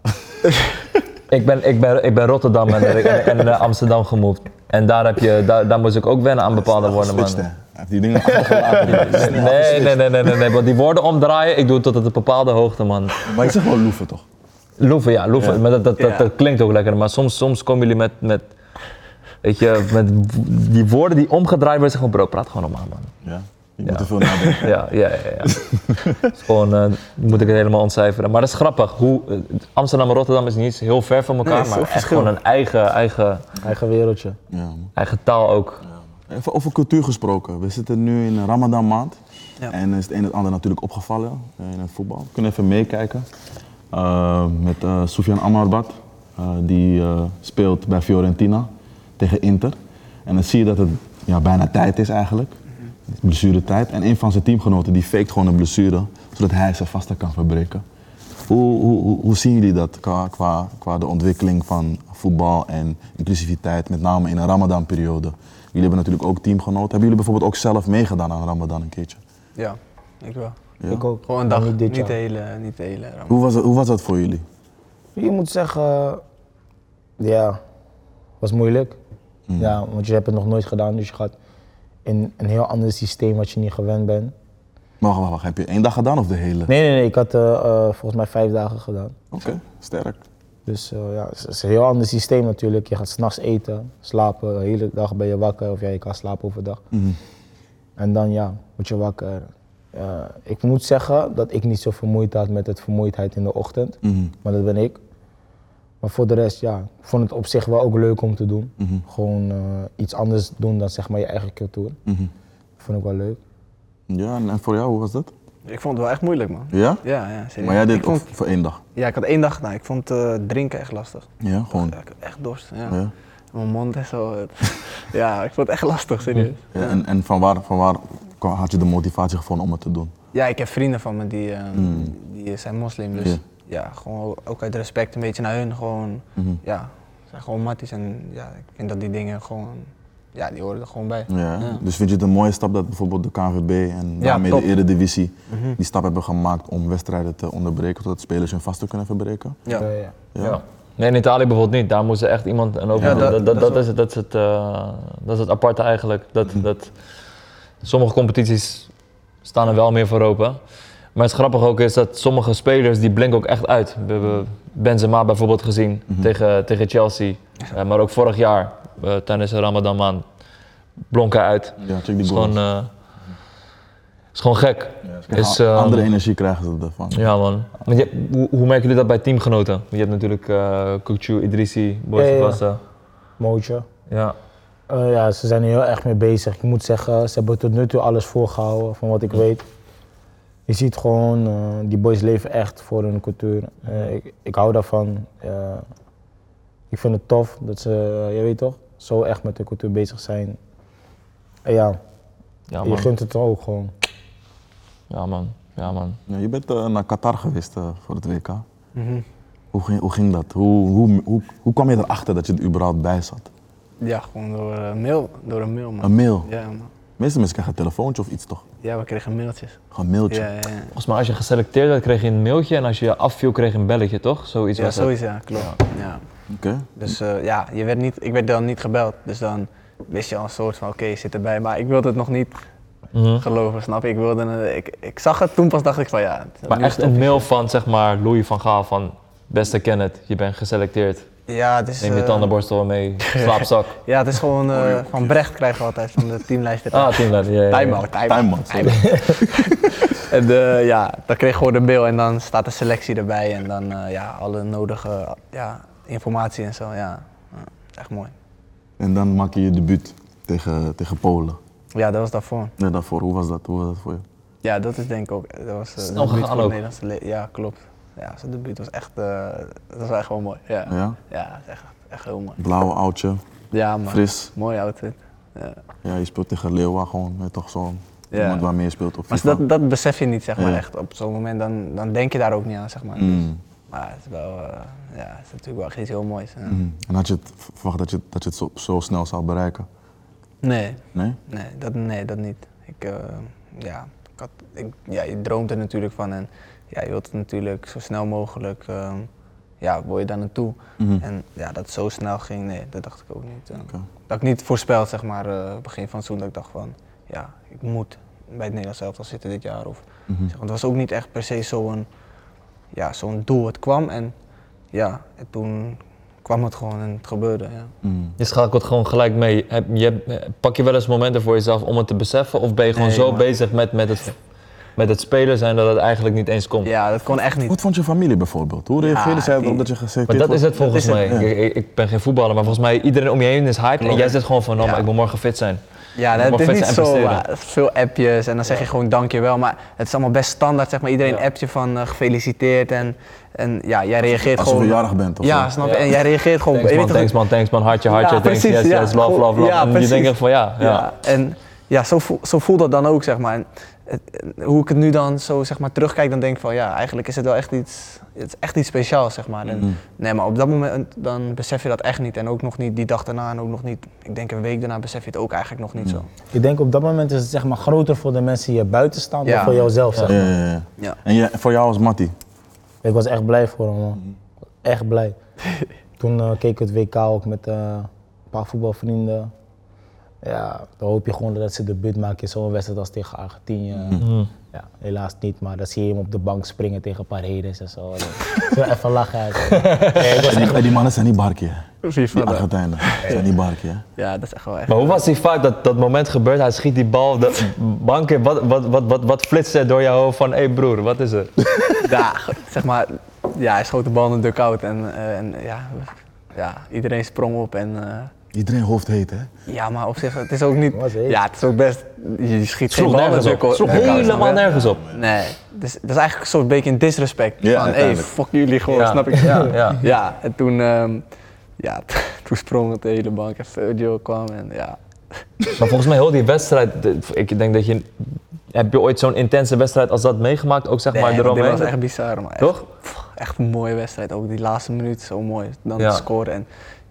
Ik ben, ik ben, ik ben Rotterdam en, en, en, eh, Amsterdam gemoeid. En daar, heb je, daar, daar moest ik ook wennen aan bepaalde woorden, man. Geswitcht, hè. Hij heeft die [LAUGHS] dingen achtergelaten. Nee, nee, nee, nee, nee, nee. Want die woorden omdraaien, ik doe het tot op een bepaalde hoogte, man. Maar ik zeg wel loeven toch? Loeven, ja, loeven. Maar dat, dat, dat, Ja. dat klinkt ook lekker. Maar soms, soms komen jullie met, met, weet je, met w- die woorden die omgedraaid worden. Zeg gewoon, bro, praat gewoon normaal, man. Ja. Je moet er veel nadenken. Ja, ja, ja. ja. Het is gewoon, eh, moet ik het helemaal ontcijferen. Maar dat is grappig. Hoe, eh, Amsterdam en Rotterdam is niet eens heel ver van elkaar, Nee, het is maar heel echt verschil. gewoon een eigen, eigen, Eigen wereldje. Ja, man. eigen taal ook. Even over cultuur gesproken. We zitten nu in de Ramadan maand. Ja. En is het een en het ander natuurlijk opgevallen eh, in het voetbal. We kunnen even meekijken eh, met eh Soufiane Amrabat. eh, die eh, speelt bij Fiorentina tegen Inter. En dan zie je dat het ja, bijna tijd is eigenlijk. Het is Blessuretijd. En een van zijn teamgenoten die faked gewoon een blessure. Zodat hij zijn vaste kan verbreken. Hoe, hoe, hoe- hoe zien jullie dat qua, qua, qua de ontwikkeling van voetbal en inclusiviteit, met name in een Ramadan-periode? Jullie hebben natuurlijk ook teamgenoten. Hebben jullie bijvoorbeeld ook zelf meegedaan aan Ramadan een keertje? Ja, ik wel. Ik ook. Gewoon een Maar dag. Niet Niet, dit de jaar. hele, niet de hele ramp. Hoe was, het, hoe was dat voor jullie? Je moet zeggen, eh, ja, was moeilijk. Hmm. Ja, want je hebt het nog nooit gedaan, dus je gaat in een heel ander systeem wat je niet gewend bent. Maar wacht, wacht, wacht, heb je één dag gedaan of de hele? Nee, nee, nee, ik had eh, eh, volgens mij vijf dagen gedaan. Oké, sterk. Dus eh, ja, het is- het is een heel ander systeem natuurlijk. Je gaat s'nachts eten, slapen, de hele dag ben je wakker. Of ja, je kan slapen overdag. En dan ja, word je wakker. Eh, ik moet zeggen dat ik niet zo vermoeid had met het vermoeidheid in de ochtend. Mhm. Mhm. Maar dat ben ik. Maar voor de rest, ja, ik vond het op zich wel ook leuk om te doen. Gewoon eh, iets anders doen dan zeg maar je eigen cultuur. Vond ik wel leuk. Ja, en en voor jou, hoe was dat? Ik vond het wel echt moeilijk, man. Ja? Ja, ja, serieus. Maar jij ik deed ook vond, voor één dag? Ja, ik had één dag gedaan. Ik vond eh, drinken echt lastig. Ja, gewoon. Ja, ik heb echt dorst. Ja. Ja. Mijn mond is zo. eh, [LAUGHS] ja, ik vond het echt lastig, serieus. Ja, en en van, waar, van waar kwam- had je de motivatie gevonden om het te doen? Ja, ik heb vrienden van me die, eh, die zijn moslim. Dus Mm. Ja. ja. gewoon ook uit respect een beetje naar hun. Gewoon, Mm-hmm. ja, het zijn gewoon matties. En ja, ik vind dat die dingen gewoon, ja, die horen er gewoon bij. Ja. Dus vind je het een mooie stap dat bijvoorbeeld de KNVB en daarmee top. de Eredivisie die stap hebben gemaakt om wedstrijden te onderbreken, zodat spelers hun vasten kunnen verbreken? Ja. Eh, ja. Ja. Ja. Nee, in Italië bijvoorbeeld niet. Daar moesten echt iemand en ook Ja, dat, dat- dat, dat dat is is het, dat, is het, eh, dat is het aparte eigenlijk. Dat, dat, sommige competities staan er wel meer voor open. Maar het grappige ook is dat sommige spelers die blinken ook echt uit. We hebben Benzema bijvoorbeeld gezien tegen, tegen Chelsea. Eh, maar ook vorig jaar eh, tijdens de Ramadan maand blonk hij uit. Ja, check die Het is goals. gewoon, eh, is gewoon gek. Ze krijgen is, a- ehm, andere energie krijgen ze ervan. Ja man. Want je- hoe, hoe merken jullie dat bij teamgenoten? Want Je hebt natuurlijk eh Kukchu, Idrissi, Boris Ja, ja, ja. Vassa. Mootje. Ja. Eh, ja, ze zijn er heel erg mee bezig. Ik moet zeggen, ze hebben tot nu toe alles voorgehouden van wat ik weet. Je ziet gewoon, eh, die boys leven echt voor hun cultuur. Eh, ik, ik hou daarvan. Eh, ik vind het tof dat ze, eh, je weet toch, zo echt met de cultuur bezig zijn. En ja, Ja je man. gunt het ook gewoon. Ja man. Ja man. Ja, je bent eh, naar Qatar geweest eh, voor het WK. Hoe, ging, hoe ging dat? Hoe, hoe, hoe, hoe kwam je erachter dat je er überhaupt bij zat? Ja, gewoon door een mail, door een mail man. Een mail. Ja, man. Meeste mensen krijgen een telefoontje of iets toch? Ja, we kregen mailtjes. Gewoon een mailtje. Ja, ja, ja. Volgens mij als je geselecteerd werd kreeg je een mailtje en als je afviel kreeg je een belletje toch? Zoiets ja was het. sowieso, ja, klopt. Ja. Oké. Dus eh, ja, je werd niet, ik werd dan niet gebeld. Dus dan wist je al een soort van, oké, je zit erbij. Maar ik wilde het nog niet Mhm. geloven, snap je? Ik, wilde, eh, ik, ik zag het, toen pas dacht ik van ja. het- Maar nu is echt het een officieel. mail van zeg maar Louis van Gaal van beste Kenneth, je bent geselecteerd. Ja, het is... Neem je eh, tandenborstel [LAUGHS] mee, slaapzak. Ja, het is gewoon eh, van Brecht krijgen we altijd van de teamlijst. Ah, teamleider. Ja, ja, ja. Timeout, Tuinman, timeout. sorry. [LAUGHS] En eh, ja, dan kreeg je gewoon de mail en dan staat de selectie erbij en dan eh, ja, alle nodige ja, informatie en zo. Ja. Echt mooi. En dan maak je je debuut tegen, tegen Polen. Ja, dat was daarvoor. Nee, daarvoor, hoe was dat? Hoe was dat voor je? Ja, dat is denk ik ook. Dat was eh, Snel gegaan debuut voor het ook. Nederlandse le- Ja, klopt. Ja, zijn debuut was echt. eh, dat was echt wel mooi. Ja, ja. Ja? dat is echt, echt heel mooi. Blauwe oudje, Ja, man. fris. Mooie outfit. Ja. Ja, je speelt tegen Leeuwen gewoon, weet je toch zo'n Ja. iemand waarmee je speelt op Maar FIFA. dat, dat besef je niet, zeg maar, Ja. echt. Op zo'n moment, dan, dan denk je daar ook niet aan, zeg maar. Dus- Mm, Maar het is wel, eh, ja, het is natuurlijk wel echt iets heel moois. ja. mm. En had je het verwacht dat je, dat je het zo, zo snel zou bereiken? Nee, Nee? nee, dat, nee, dat niet. Ik, eh, ja, ik had, ik, ja, je droomt er natuurlijk van en ja, je wilt het natuurlijk zo snel mogelijk, eh, ja, wil je daar naartoe. Mhm. En ja, dat het zo snel ging, nee, dat dacht ik ook niet. eh. Oké. Dat ik niet voorspeld, zeg maar, eh, begin van het seizoen, dat ik dacht van, ja, ik moet bij het Nederlands elftal zitten dit jaar. Of, Mhm. zeg, want het was ook niet echt per se zo'n ja, zo'n doel. Het kwam en ja, en toen kwam het gewoon en het gebeurde. Ja. Mm. Je schakelt gewoon gelijk mee. Heb, je, hebt- pak je wel eens momenten voor jezelf om het te beseffen? Of ben je gewoon Nee, zo man. bezig met, met, het, met het spelen zijn dat het eigenlijk niet eens komt? ja, dat kon echt niet. Hoe vond je familie bijvoorbeeld? Hoe reageerde zij die- erop dat je gezegd Maar dat is het volgens is mij. het, Ik, ik- ik ben geen voetballer, maar volgens mij iedereen om je heen is hyped. En jij zegt gewoon van, oh, maar Ja. ik wil morgen fit zijn. Ja, Je dat mag is vet niet zijn zo. presteren. maar Veel appjes en dan zeg je gewoon dankjewel. Maar het is allemaal best standaard, zeg maar. Iedereen appt je van eh, gefeliciteerd en, en ja, jij reageert Als je gewoon... verjaardag bent of Ja, zo. snap je? Ja. En jij reageert gewoon... Thanks je man, weet toch- thanks man, thanks man, hartje, hartje, thanks, yes, ja. yes, love, love, love. Ja, en je precies. denkt echt van, ja, ja. En ja, zo, voel, zo voelt dat dan ook, zeg maar. En het- en hoe ik het nu dan zo, zeg maar, terugkijk, dan denk ik van... Ja, eigenlijk is het wel echt iets... Het is echt iets speciaals, zeg maar. En, Mm-hmm. Nee, maar op dat moment dan besef je dat echt niet. En ook nog niet die dag daarna en ook nog niet... Ik denk een week daarna besef je het ook eigenlijk Mm. nog niet zo. Ik denk op dat moment is het zeg maar groter voor de mensen hier buiten staan dan Ja. voor jouzelf. Zeg Ja, maar. ja, ja. Ja. En jij- voor jou was Matty? Ik was echt blij voor hem, man. Echt blij. Toen eh, keek ik het WK ook met eh, een paar voetbalvrienden. Ja, dan hoop je gewoon dat ze debuut maken in zo'n wedstrijd als tegen Argentinië. Ja, helaas niet, maar dan zie je hem op de bank springen tegen Paredes en zo. Dat is wel even lachen. hè. Ja, ik was En echt- die, en die mannen zijn niet barkie, hè? Precies. Die Argentijnen zijn niet barkie, hè? Ja, dat is echt wel echt... Maar hoe was die vaak dat, dat moment gebeurt? Hij schiet die bal, de [LAUGHS] bank in. Wat, wat, wat, wat, wat flitst er door jouw hoofd van, hé hey broer, wat is er? Ja, zeg maar, ja, hij schoot de bal in de dugout en, eh, en ja, ja, iedereen sprong op en eh, Iedereen hoofd heet, hè? ja, maar op zich, het is ook niet, Was heet. ja, het is ook best, je schiet geen Sloeg bal in de nergens op. dugout. Sloeg dugout, snap helemaal je? nergens op. Nee, dus dat is eigenlijk een soort beetje een disrespect Ja, van, hey, uiteindelijk. fuck jullie gewoon, Ja. snap ik? Ja, [LAUGHS] ja. ja en toen, ehm, ja, [LAUGHS] toen sprong het de hele bank en Sergio kwam en ja. Maar volgens mij heel die wedstrijd, de- ik denk dat je, heb je ooit zo'n intense wedstrijd als dat meegemaakt? Ook zeg maar Nee, dit eromheen? was echt bizar, maar echt- Toch? echt een mooie wedstrijd. Ook die laatste minuut zo mooi. Dan Ja. scoren en,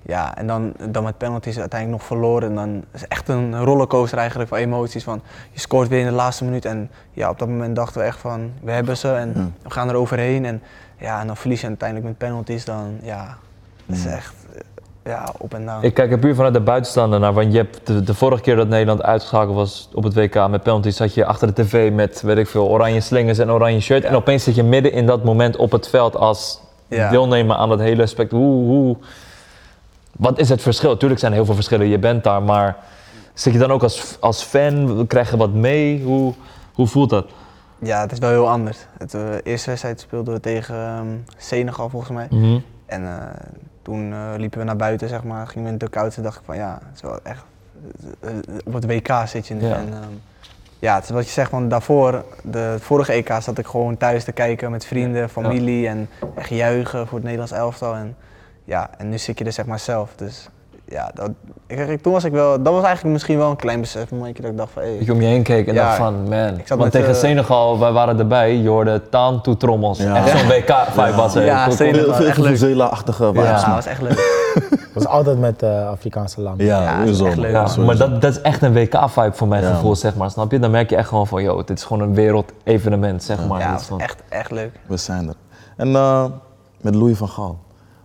ja, en dan, dan met penalties uiteindelijk nog verloren. En dan is het echt een rollercoaster eigenlijk van emoties. Van, je scoort weer in de laatste minuut en ja, op dat moment dachten we echt van we hebben ze en we gaan er overheen. En, ja, en dan verlies je uiteindelijk met penalties. Dan ja, dat is echt eh, ja, op en down. Ik kijk er puur vanuit de buitenstaander naar, want je hebt de, de vorige keer dat Nederland uitgeschakeld was op het WK met penalties, zat je achter de tv met, weet ik veel, oranje slingers en oranje shirt. En opeens zit je midden in dat moment op het veld als Ja. deelnemer aan dat hele aspect. Hoe, hoe, wat is het verschil? Tuurlijk zijn er heel veel verschillen, je bent daar, maar zit je dan ook als, als fan, krijg je wat mee? Hoe, hoe voelt dat? Ja, het is wel heel anders. Het, eh, eerste wedstrijd speelden we tegen ehm, Senegal volgens mij. En eh, toen eh, liepen we naar buiten, zeg maar, gingen we in de dugout en dacht ik van ja, het is wel echt, eh, eh, op het WK zit je nu. Ja. En, ehm, ja, het is wat je zegt, want daarvoor, de vorige EK zat ik gewoon thuis te kijken met vrienden, familie en echt juichen voor het Nederlands elftal. En, ja, en nu zit je er zeg maar zelf, dus ja, dat, ik, ik- toen was ik wel, dat was eigenlijk misschien wel een klein besef, momentje dat ik dacht van hé. Dat je om je heen keek en Ja. dacht van, man. Ik zat Want met, tegen eh, Senegal, wij waren erbij, je hoorde taan toe trommels. Ja. Echt zo'n WK-vibe was er. Ja, Toen- Senegal. Veel, veel echt leuk. Venezuela-achtige vibes, ja, dat man. was echt leuk. Het was altijd met eh, Afrikaanse landen. Ja, dat is sowieso, echt man. leuk. Ja, Sowieso. maar dat, dat is echt een WK-vibe voor mijn Ja, gevoel, man. zeg maar. Snap je? Dan merk je echt gewoon van, yo, dit is gewoon een wereldevenement, zeg maar. Ja, Dit is dat was gewoon- echt, echt leuk. We zijn er. En eh, met Louis van Gaal,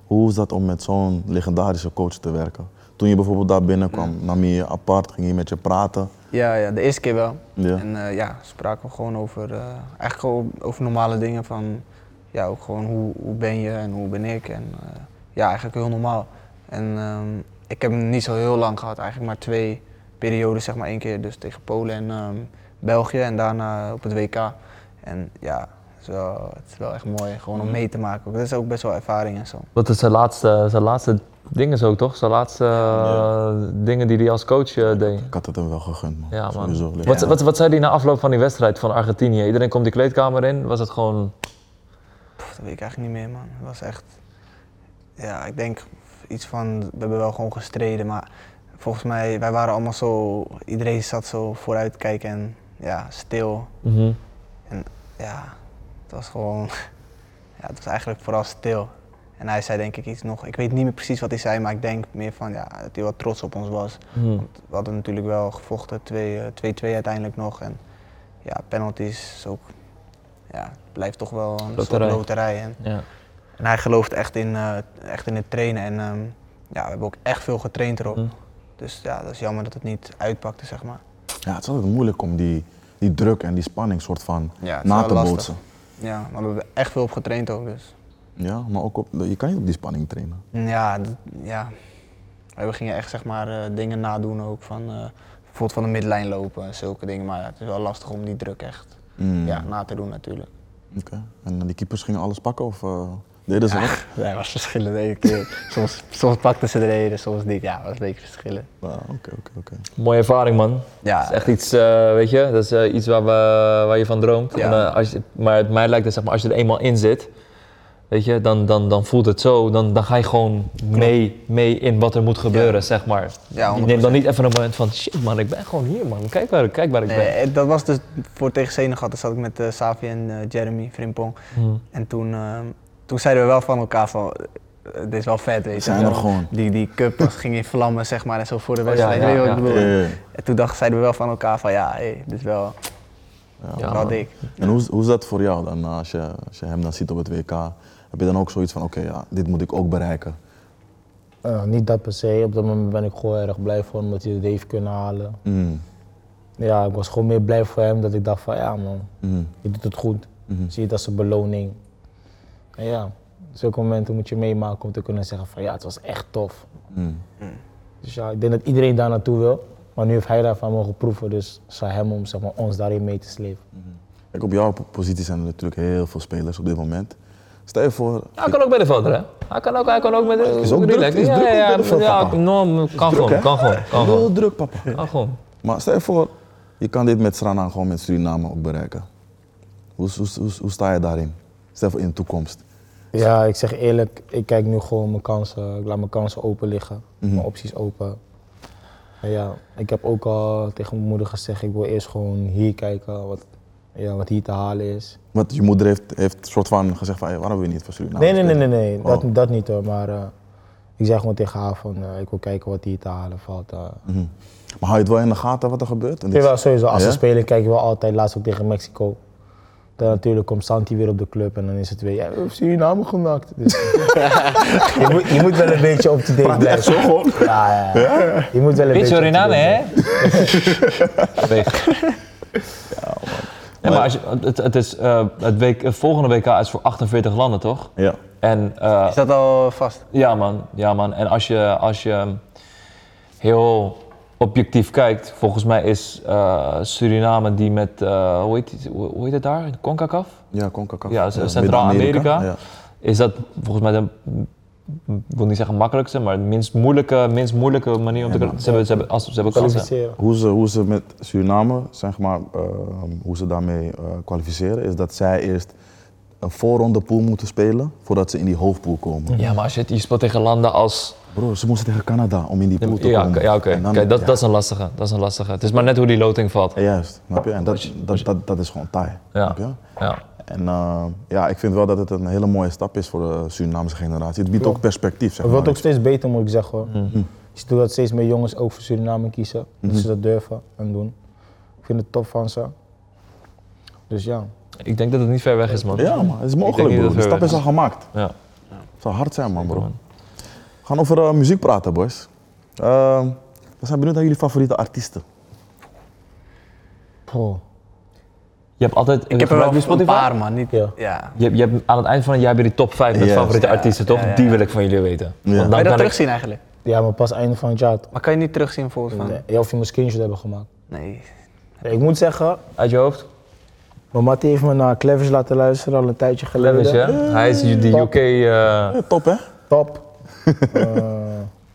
hoe is dat om met zo'n legendarische coach te werken? Toen je bijvoorbeeld daar binnenkwam, nam je je apart, ging je met je praten. Ja, ja, de eerste keer wel. Ja. En eh, ja, spraken we gewoon over, eh, eigenlijk gewoon over normale dingen van, ja, ook gewoon hoe, hoe ben je en hoe ben ik en eh, ja, eigenlijk heel normaal. En ehm, ik heb hem niet zo heel lang gehad, eigenlijk maar twee periodes, zeg maar één keer dus tegen Polen en ehm, België en daarna op het WK. En ja, het is wel, het is wel echt mooi, gewoon om mee te maken. ook. Dat is ook best wel ervaring en zo. Wat is zijn laatste, zijn laatste dingen zo toch? Zijn laatste eh, dingen die hij als coach eh, deed. Ik had het hem wel gegund, man. Ja, man. Sowieso. Wat, wat, wat zei hij na afloop van die wedstrijd van Argentinië? Iedereen komt die kleedkamer in. Was het gewoon. Pff, dat weet ik eigenlijk niet meer, man. Het was echt. Ja, ik denk iets van. We hebben wel gewoon gestreden, maar volgens mij, wij waren allemaal zo. Iedereen zat zo vooruit kijken en ja, stil. mhm. Ja, het was gewoon. [LAUGHS] Ja, het was eigenlijk vooral stil. En hij zei denk ik iets nog. Ik weet niet meer precies wat hij zei, maar ik denk meer van ja, dat hij wel trots op ons was. We hadden natuurlijk wel gevochten, 2-2 uiteindelijk nog. En ja, penalties is ook. Ja, het blijft toch wel een Loterij. soort loterij. En Ja. en hij gelooft echt in, eh, echt in het trainen. En ehm, ja, we hebben ook echt veel getraind erop. Mm. Dus ja, dat is jammer dat het niet uitpakte, zeg maar. Ja, het is altijd moeilijk om die, die druk en die spanning soort van Ja, het is na wel te lastig. bootsen. Ja, maar we hebben er echt veel op getraind ook, dus. Ja, maar ook op, je kan niet op die spanning trainen. Ja, dat- ja. We gingen echt, zeg maar, eh, dingen nadoen ook van... eh, bijvoorbeeld van de midlijn lopen en zulke dingen. Maar ja, het is wel lastig om die druk echt Mm. ja, na te doen natuurlijk. Oké. En eh, die keepers gingen alles pakken of eh, deden ze dat? Ja, was verschillen de ene keer. soms, soms pakten ze de ene, soms niet. Ja, was een beetje verschillen. Ah, Oké, oké, oké. Mooie ervaring, man. Ja, Dat is echt iets, eh, weet je, dat is eh, iets waar, we, waar je van droomt. Ja. En, eh, als je, maar het mij lijkt dat zeg maar, als je er eenmaal in zit, weet je, dan, dan, dan voelt het zo, dan, dan ga je gewoon mee, mee in wat er moet gebeuren, zeg maar. Ja, je neemt dan 100%. niet even een moment van, shit man, ik ben gewoon hier man, kijk waar, kijk waar ik ben. Nee, dat was dus voor tegen Senegal. Toen zat ik met eh, Savi en eh, Jeremy Frimpong. Hmm. En toen, ehm, toen zeiden we wel van elkaar van, eh, dit is wel vet, weet je. Zijn er Zo, gewoon. Die, die cup was, ging in vlammen, zeg maar, en zo voor de ja, wedstrijd. weet je ja, wat ik ja. bedoel? Eh, En toen dacht, zeiden we wel van elkaar van, ja, hey, dit is wel, Ja, wel man. dik. En hoe, is- hoe is dat voor jou dan, eh, als je, als je hem dan ziet op het WK? Heb je dan ook zoiets van, oké, ja, dit moet ik ook bereiken? Eh, niet dat per se, op dat moment ben ik gewoon erg blij voor hem dat hij het heeft kunnen halen. Mm, Ja, ik was gewoon meer blij voor hem dat ik dacht van ja man, mm, je doet het goed. mhm. Zie je het als een beloning. En ja, zulke momenten moet je meemaken om te kunnen zeggen van ja, het was echt tof. mm. Dus ja, ik denk dat iedereen daar naartoe wil. Maar nu heeft hij daarvan mogen proeven, dus het is aan hem om zeg maar, ons daarin mee te slepen. Kijk, op jouw positie zijn er natuurlijk heel veel spelers op dit moment. Stel je voor, Hij kan ook bij de vader, hè? Hij kan ook, hij kan ook met de. Is ook relaxed. druk, is ja, druk ook ja, bij de ja, vader, ja, papa. no, kan, gewoon, hè? kan gewoon, kan heel gewoon, druk papa. kan gewoon. Maar stel je voor, je kan dit met Srana gewoon met Suriname ook bereiken. Hoe, hoe, hoe, hoe sta je daarin? Stel voor in de toekomst. Ja, ik zeg eerlijk, ik kijk nu gewoon mijn kansen. Ik laat mijn kansen open liggen, mijn opties open. En ja, ik heb ook al tegen mijn moeder gezegd, ik wil eerst gewoon hier kijken wat, ja, wat hier te halen is. Want je moeder heeft, heeft soort van gezegd van, hey, waarom wil je niet voor Suriname nee, nee, nee, nee, spelen? nee. Oh. Dat, dat niet hoor, maar eh, ik zeg gewoon tegen haar van, eh, ik wil kijken wat hier te halen valt. eh. Maar hou je het wel in de gaten wat er gebeurt? En dit- Jawel, sowieso. Als ze Mhm. Ja? spelen, kijk ik wel altijd. Laatst ook tegen Mexico. Dan natuurlijk komt Santi weer op de club en dan is het weer, ja, we hebben Suriname gemaakt. [LAUGHS] Dus, je, moet, je moet wel een beetje op de date blijven. zo gewoon? Ja, ja, ja. Je moet wel een Beetje beetje up-to-date Suriname, blijven. hè? [LAUGHS] Weg. Nee, maar als je, het, het is, eh, het, week, het volgende WK is voor 48 landen, toch? Ja. En eh, Is dat al vast? ja, man, ja, man. En als je, als je ehm, heel objectief kijkt, volgens mij is eh, Suriname die met, eh, hoe, heet, die- hoe hoe heet het daar? CONCACAF? Ja, CONCACAF. Ja, Centraal-Amerika. Is dat volgens mij de, ik wil niet zeggen makkelijkste, maar de minst moeilijke, minst moeilijke manier om te ze hebben, ze hebben, als, ze hebben kansen. Kwalificeren. Hoe ze, hoe ze met Suriname, zeg maar, eh, hoe ze daarmee eh, kwalificeren, is dat zij eerst een voorronde pool moeten spelen voordat ze in die hoofdpool komen. Ja, maar als je, het- je speelt tegen landen als Broer, ze moesten tegen Canada om in die pool te ja, komen. oké, ja, oké. En dan- Oké, dat, ja. dat is een lastige. Dat is een lastige. Het is maar net hoe die loting valt. Ja, juist, snap je? En dat, dat, dat, dat is gewoon taai. Ja. Snap je? Ja. En eh, ja, ik vind wel dat het een hele mooie stap is voor de Surinaamse generatie. Het biedt ook perspectief, zeg Het maar. wordt ook steeds beter, moet ik zeggen hoor. Mhm. Je ziet ook dat steeds meer jongens ook voor Suriname kiezen. Dat ze dat durven en doen. Ik vind het top van ze. Dus ja. Ik denk dat het niet ver weg is, man. Ja, man, het is Ik denk mogelijk, niet broer. dat De we- stap is al gemaakt. Ja. Het zou hard zijn, man, bro. man. We gaan over eh, muziek praten, boys. Eh, we zijn benieuwd naar jullie favoriete artiesten. Poh. Je hebt altijd. Ik heb er wel gebruik je een Spotify? paar, man. Niet, Ja. ja. Je, hebt- je hebt aan het eind van het jaar heb je die top 5 met Yes. favoriete Ja, artiesten, toch? ja, ja. Die wil ik van jullie weten. Ja. Want Kan dan je dat kan ik- terugzien eigenlijk? Ja, maar pas einde van het jaar. Maar kan je niet terugzien volgens van? Nee, Ja, of je moet screenshot hebben gemaakt. Nee. Nee, Ik moet zeggen, Uit je hoofd? mijn Mattie heeft me naar Clevis laten luisteren al een tijdje geleden. Levis, ja. Hij is die Top. [LAUGHS] UK. eh, Ja, top, hè? Top. Eh,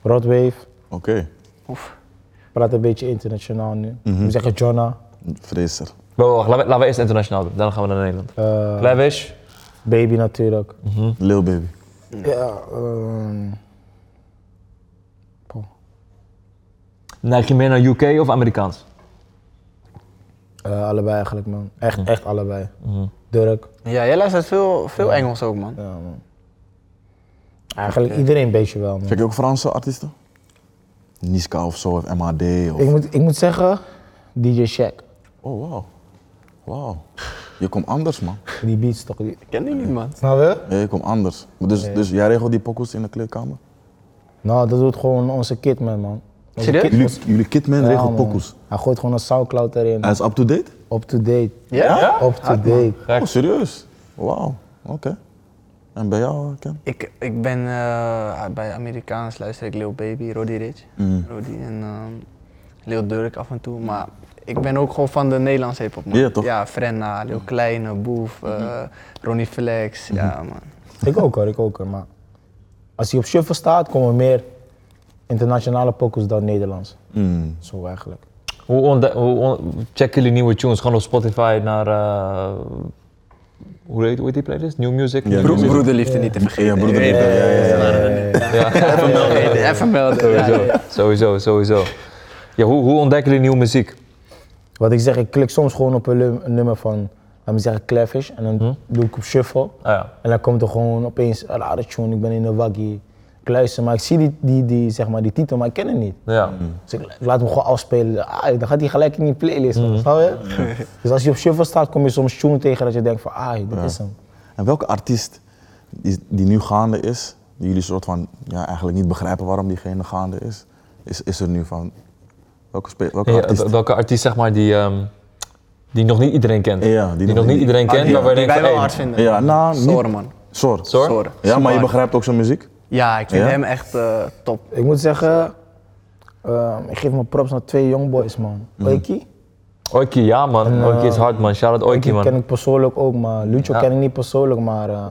Rodwave, Oké, Oef. praat een beetje internationaal nu. We zeggen Jonna, vreeser. Wacht, wacht, laten we, laten we eerst internationaal doen, daarna gaan we naar Nederland. eh, Lavish, Baby natuurlijk. Lil Baby. Ja, ehm, poh. neig je meer naar UK of Amerikaans? Eh, allebei eigenlijk man, echt, echt allebei. Durk, Ja, jij luistert veel, veel Engels ook, man. ja man. Eigenlijk iedereen een beetje wel man. Kijk je ook Franse artiesten? Niska of zo, of MAD of... Ik moet, ik moet zeggen, DJ Shack. Oh, wauw. Wauw. Je komt anders, man. Die beats toch. Die... Ken die niet, man. Snap je? Ja, je komt anders. Maar Dus, dus jij regelt die pokkels in de kleedkamer? Nou, dat doet gewoon onze Kidman man. Onze Serieus? Kidman- Jullie, jullie Kidman Ja, regelt man. pokkels. Hij gooit gewoon een Soundcloud erin. Hij is up-to-date? Up-to-date. Ja? Ja? Up-to-date. Kijk. Oh, serieus? Wauw. Oké. En bij jou, Ken? Ik, ik ben eh, bij Amerikaans luister ik Lil Baby, Roddy Rich, Roddy en ehm Lil Durk af en toe. Maar ik ben ook gewoon van de Nederlandse hip-hop. man. Ja, toch? Ja, Frenna, Lil Kleine, Boef, eh, Ronnie Flex. Ja, man. Ik ook hoor, ik ook hoor. Maar als hij op shuffle staat, komen meer internationale pokus dan Nederlands. Zo eigenlijk. Hoe, ontde- hoe on- checken jullie nieuwe tunes? Gewoon op Spotify naar. eh, hoe, heet, hoe heet die playlist? New Music? Ja, Bro- New Music. broederliefde niet te vergeten. Ja, broederliefde, ja, ja, ja, ja. [LAUGHS] Even melden. Even melden. ja, Sowieso, ja, ja. sowieso, sowieso. Ja, hoe, hoe ontdekken jullie nieuwe muziek? Wat ik zeg, ik klik soms gewoon op een lum- een nummer van, laat me zeggen, Clavish. En dan Hmm. doe ik op shuffle. Ah ja. En dan komt er gewoon opeens ah, een rare tune, ik ben in de waggie. Ik luister, maar ik zie die, die, die, zeg maar, die titel, maar ik ken het niet. Ja. Mm, Dus ik laat hem gewoon afspelen. Ah, dan gaat hij gelijk in die playlist. Snap je? Dus als je op shuffle staat, kom je soms tune tegen dat je denkt van, ah, dit is hem. En welke artiest die, die nu gaande is, die jullie soort van ja, eigenlijk niet begrijpen waarom diegene gaande is, is, is er nu van? Welke, spe- welke Ja, artiest? w- welke artiest zeg maar die, ehm, die nog niet iedereen kent? Ja, die Ah, die, nog nog niet- niet iedereen Maar kent, die- maar waar je die denkt wij van hey, wel hard vinden. Ja, nou, niet- Sorry, man. Sor. Sor? Sor. Ja, maar je Super. begrijpt ook zijn muziek? Ja, ik vind Ja? hem echt eh, top. Ik moet zeggen, ehm, ik geef mijn props naar twee jongboys, man. Oiki, Oiki, ja man. Oiki eh, is hard man. Shout out Oiki die ken man. ik persoonlijk ook, maar Lucio ken ik niet persoonlijk, maar eh,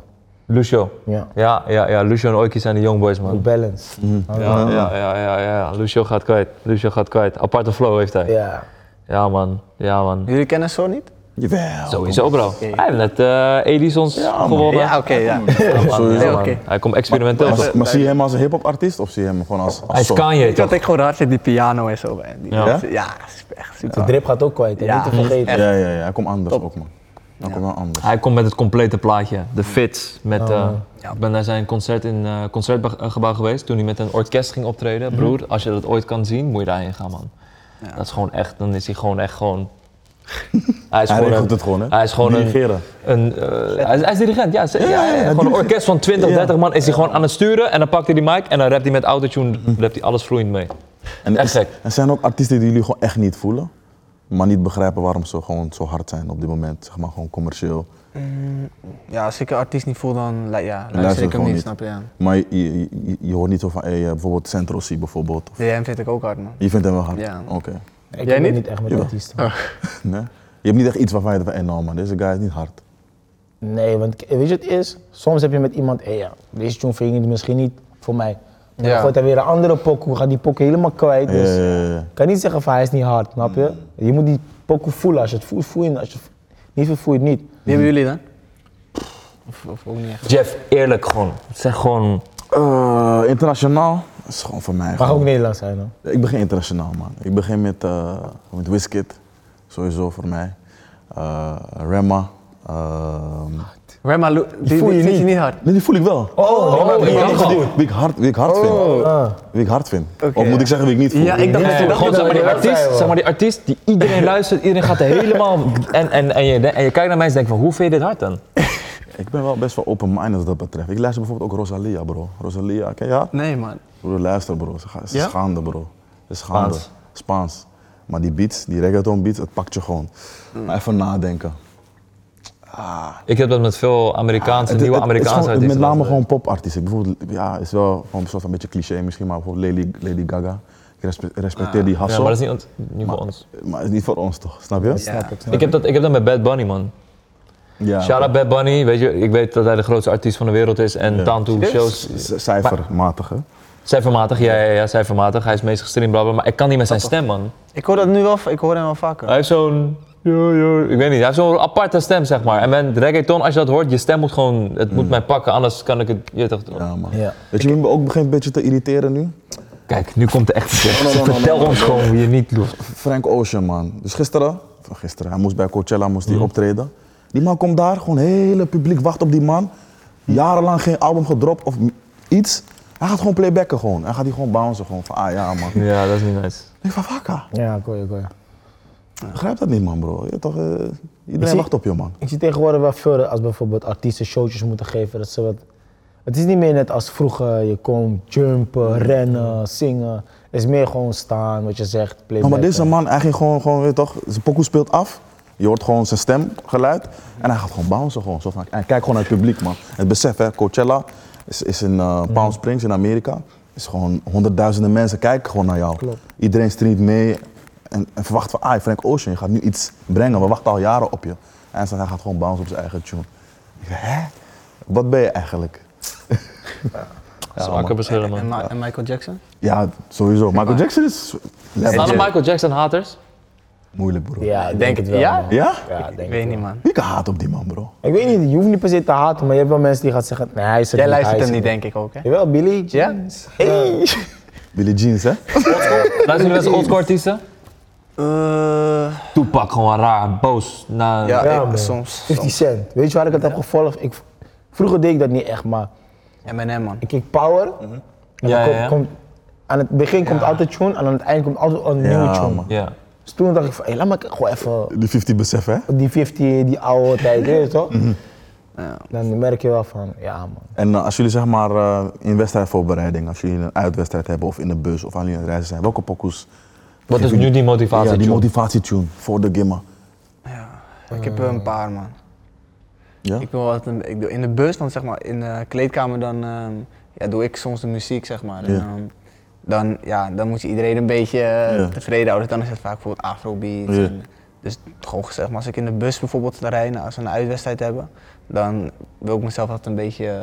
Lucio. Ja. ja, ja, ja. Lucio en Oiki zijn de Youngboys man. balance. Ja, ja, ja, ja, ja. Lucio gaat kwijt. Lucio gaat kwijt. Aparte flow heeft hij. Ja. Ja man. Ja man. Jullie kennen Sor niet? Jawel. Sowieso, bro. Hij heeft net eh Edison's gewonnen. Ja, oké, ja. Ja, man. Sowieso. Ja, man. Oké. Hij komt experimenteel. Maar, toch? maar zie je hem als een hip-hop artiest of zie je hem gewoon als, als Hij is Sor? Kanye, [LAUGHS] Ik had toch? ik gewoon raar vind, die piano en zo. En die, Ja? ja? ja, is echt super. De drip gaat ook kwijt, hè, Ja. niet te vergeten. Ja, ja, ja. Hij komt anders ook, man. Hij komt wel anders. Hij komt met het complete plaatje. De fits. Met, eh, Ik ben naar zijn concert in eh concertgebouw geweest. Toen hij met een orkest ging optreden. Broer, als je dat ooit kan zien, moet je daarheen gaan, man. Dat is gewoon echt, dan is hij gewoon echt gewoon... Hij is Hij gewoon, regelt een- het gewoon, hè? Hij is gewoon een, Dirigeren. een, eh, hij, is, hij is dirigent, ja. zeker. Ja, ja, ja. hij gewoon een dirigeert. orkest van 20, Ja. 30 man is hij gewoon aan het sturen. En dan pakt hij die mic en dan rapt hij met autotune, rapt hij alles vloeiend mee. En Ah, Echt gek. Er zijn ook artiesten die jullie gewoon echt niet voelen, maar niet begrijpen waarom ze gewoon zo hard zijn op dit moment. Zeg maar gewoon commercieel. Ja, als ik een artiest niet voel, dan lu- ja, luister, luister ik hem gewoon niet, niet. snap je? Ja. Maar je, je, je- je hoort niet zo van, hey, eh, bijvoorbeeld Centro C bijvoorbeeld. Of- DM vind ik ook hard, man. Je vindt hem wel hard? Ja. Oké. Ik Jij ben niet? niet echt met Jawel. artiesten. Nee? Je hebt niet echt iets waarvan je denkt van, hey, nou man, deze guy is niet hard. Nee, want k- weet je wat het is? Soms heb je met iemand, hé ja, deze tune vind ik misschien niet voor mij. Maar Ja. dan gooit hij weer een andere pokoe, gaat die pokoe helemaal kwijt. Ja, Dus ja, ja, ja. Ik kan niet zeggen van hij is niet hard, snap je? Mm. Je moet die pokoe voelen. Als je het voelt, voel je het. Als je het niet voelt, voel je het niet. Wie hebben jullie dan? Of, of ook niet echt? Jeff, eerlijk gewoon. Zeg gewoon... Eh, internationaal is gewoon voor mij. Mag gewoon- ook Nederlands zijn hoor. Ik begin internationaal, man. Ik begin met, eh met Wizkid, sowieso voor mij. Eh Rema. ehm, Rema, Lu- die, die voel je vind niet. je niet hard. nee, die voel ik wel. Oh, Oh, Die- ik die- dacht al. die- Wie ik hard, wie ik hard vind. Ah. Wie ik hard vind. of moet ik zeggen wie ik niet voel? Ja, ik dacht Nee, dat je dat gewoon zeg maar, die dat zei artiest, wel. zeg maar die artiest die iedereen luistert, iedereen gaat er helemaal... En, en, en, je, en je kijkt naar mensen en denkt van, hoe vind je dit hard dan? Ik ben wel best wel open-minded wat dat betreft. Ik luister bijvoorbeeld ook Rosalia, bro. Rosalia, ken je haar? Nee, man. Broer, luister bro, ze, gaan, ze Ja? schaande bro. Ze schaande. Spaans. Spaans. Maar die beats, die reggaeton beats, het pakt je gewoon. Hmm. Maar even nadenken. Ik heb dat met veel Amerikaanse, Het- nieuwe het- het is Amerikaanse gewoon- Met artiesten. name gewoon popartiesten. Bijvoorbeeld, ja, is wel gewoon een soort van een beetje cliché misschien, maar bijvoorbeeld Lady, Lady Gaga. Ik respe- respecteer die Ah. Ja, hassel. maar dat is niet, ont- niet voor ons. maar het is niet voor ons toch, snap je? Ja. Ik heb, dat, ik heb dat met Bad Bunny, man. Ja. Shout out Bad Bunny, weet je, ik weet dat hij de grootste artiest van de wereld is en Tantu shows. C- Cijfermatig hè. Cijfermatig, ja, ja, ja, cijfermatig. Hij is meest gestreamd, bla, bla, maar ik kan niet met zijn stem, man. Ik hoor dat nu wel, ik hoor hem wel vaker. Hij heeft zo'n... yo, yo, Ik weet niet, hij heeft zo'n aparte stem, zeg maar. En met reggaeton, als je dat hoort, je stem moet gewoon... Het moet mij pakken, anders kan ik het... Je toch, Ja, man. Ja. Weet je, wie me ook begint een beetje te irriteren nu? Kijk, nu komt de echte shit. no, no, no, Vertel no, no, ons no. gewoon hoe je niet doet. Frank Ocean, man. Dus gisteren, van gisteren, hij moest bij Coachella moest die optreden. Die man komt daar, gewoon hele publiek wacht op die man. Jarenlang geen album gedropt of m- iets. Hij gaat gewoon playbacken gewoon. Hij gaat die gewoon bouncen gewoon. Van, ah ja, man. Ja, dat is niet nice. Ik van, vakka. Ja, ik hoor je, ik hoor je. Begrijp dat niet, man, bro. Je, toch, eh, iedereen zie- wacht op je, man. Ik zie tegenwoordig wel veel als bijvoorbeeld artiesten showtjes moeten geven. Dat ze wat... Het is niet meer net als vroeger. Je komt Mm. jumpen, rennen, zingen. Het is meer gewoon staan, wat je Oh, zegt. Ja, maar playbacken. deze man, hij ging gewoon, gewoon weet je toch, zijn pokoe speelt af. Je hoort gewoon zijn stemgeluid. En hij gaat gewoon bouncen. Gewoon. Zo van, en kijk gewoon naar het publiek, man. Het besef, hè, Coachella is, is in eh, Palm Springs in Amerika. is gewoon honderdduizenden mensen kijken gewoon naar jou. Iedereen streamt mee en, en verwacht van, ah, Frank Ocean, je gaat nu iets brengen. We wachten al jaren op je. En hij zegt, hij gaat gewoon bouncen op zijn eigen tune. Ik zeg, hè? Wat ben je eigenlijk? Ja, Zwakke verschillen, en, man. Ma- en Michael Jackson? Ja, sowieso. Michael Jackson is... Staan er legend. Michael Jackson haters? Moeilijk, bro. Ja, ik denk het wel. Ja? man. Ja? Ja, ik denk Ik het weet wel. niet, man. Wie kan haat op die man, bro? Ik weet niet, je hoeft niet per se te haten, maar je hebt wel mensen die gaan zeggen, nee, hij is het Jij niet, luistert hij hem is niet, het denk ik ook, hè? niet. Jawel, Billy. Ja? Hey. Billie Jeans, hè? Luisteren jullie wel eens oldschool artiesten? Eh, Toepak, gewoon raar, boos. Na, ja, Ja, ik- man. soms. 50 Cent. Weet je waar ik het heb gevolgd? Ik, vroeger deed ik dat niet echt, maar M&M, man. ik keek Power. En Ja, dan kom- ja, ja. Komt, aan het begin komt altijd tune en aan het eind komt altijd een nieuwe tune. man. ja. Dus toen dacht ik van, hé, laat me gewoon even Die 50 besef, hè? die 50, die oude [LAUGHS] tijd, weet je toch? Mhm. Dan merk je wel van, ja man. En eh, als jullie zeg maar eh, in wedstrijdvoorbereiding, als jullie een uitwedstrijd hebben of in de bus of aan jullie aan het reizen zijn, welke pokoes? Wat is nu die motivatie? Ja, die Joe? motivatietune voor de gimma. Ik heb er een paar, man. Ja? Ik wil altijd een- ik doe in de bus, dan zeg maar in de kleedkamer, dan ehm, ja, doe ik soms de muziek, zeg maar. En, Ja. ehm, dan, ja, dan moet je iedereen een beetje eh, Ja. tevreden houden. Dan is het vaak bijvoorbeeld afrobeats. Ja. en- dus gewoon gezegd, maar als ik in de bus bijvoorbeeld rijd, nou, als we een uitwedstrijd hebben, dan wil ik mezelf altijd een beetje eh,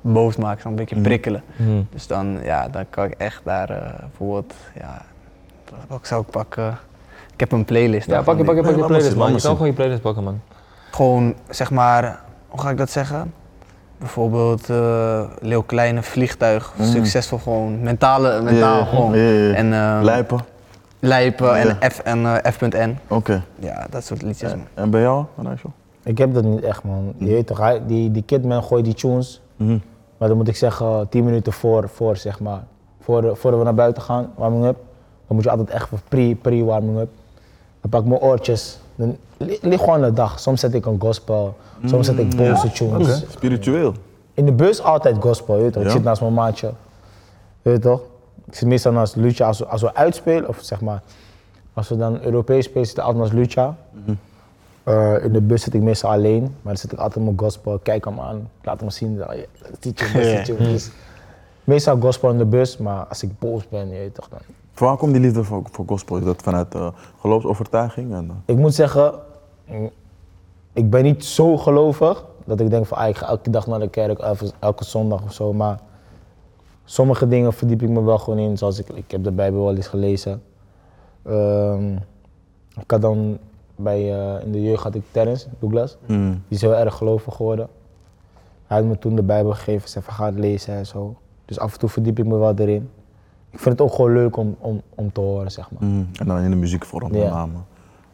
boos maken, zo'n Mhm. beetje prikkelen. Hmm. Dus dan, ja, dan kan ik echt daar eh, bijvoorbeeld, ja, wat- wat zou ik pakken? Ik heb een playlist. Ja, daarvan, pak je, denk ik. pak je, pak je laat maar playlist, zien, man. laat Je maar zien. kan gewoon je playlist pakken, man. gewoon zeg maar, hoe ga ik dat zeggen? Bijvoorbeeld eh Leeuw Kleine Vliegtuig, succesvol gewoon, mentale, mentaal Mm. Ja, gewoon. ja, ja, ja. En eh, Lijpen? Lijpen Ja. en F en eh, F.N. Oké. Ja, dat soort liedjes. man. En bij jou, Anaisho? Ik heb dat niet echt man. Je weet toch, hij- die, die kidman gooit die tunes. Maar dan moet ik zeggen, 10 minuten voor, voor zeg maar, voor, voordat we naar buiten gaan, warming up. Dan moet je altijd echt voor pre- pre-warming up. Dan pak ik mijn oortjes. Dan li- lig gewoon de dag. Soms zet ik een gospel, soms zet ik boze tunes. Spiritueel. In de bus altijd gospel, je weet toch? Ja. Ik zit naast mijn maatje. Je weet toch? Ik zit meestal naast Lucha als, we- als we uitspelen, of zeg maar, als we dan Europees spelen, zit ik altijd naast Lucha. Eh, in de bus zit ik meestal alleen, maar dan zit ik altijd met gospel. Ik Kijk hem aan, ik laat hem zien. Dan, ja, dat is die tune, dat is die tune. Dus meestal gospel in de bus, maar als ik boos ben, je weet toch dan. Van Waar komt die liefde voor, voor gospel? Is dat vanuit eh, geloofsovertuiging? En, eh, Ik moet zeggen, mm, ik ben niet zo gelovig dat ik denk van ah, ik ga elke dag naar de kerk, elke, elke zondag of zo. Maar sommige dingen verdiep ik me wel gewoon in, zoals ik, ik heb de Bijbel wel eens gelezen. Ehm, ik had dan bij, eh, in de jeugd had ik Terrence, Douglas, die is heel erg gelovig geworden. Hij had me toen de Bijbel gegeven, zei van ga het lezen en zo. Dus af en toe verdiep ik me wel erin. Ik vind het ook gewoon leuk om, om, om te horen, zeg maar. mm, en dan in de muziekvorm Ja. met name.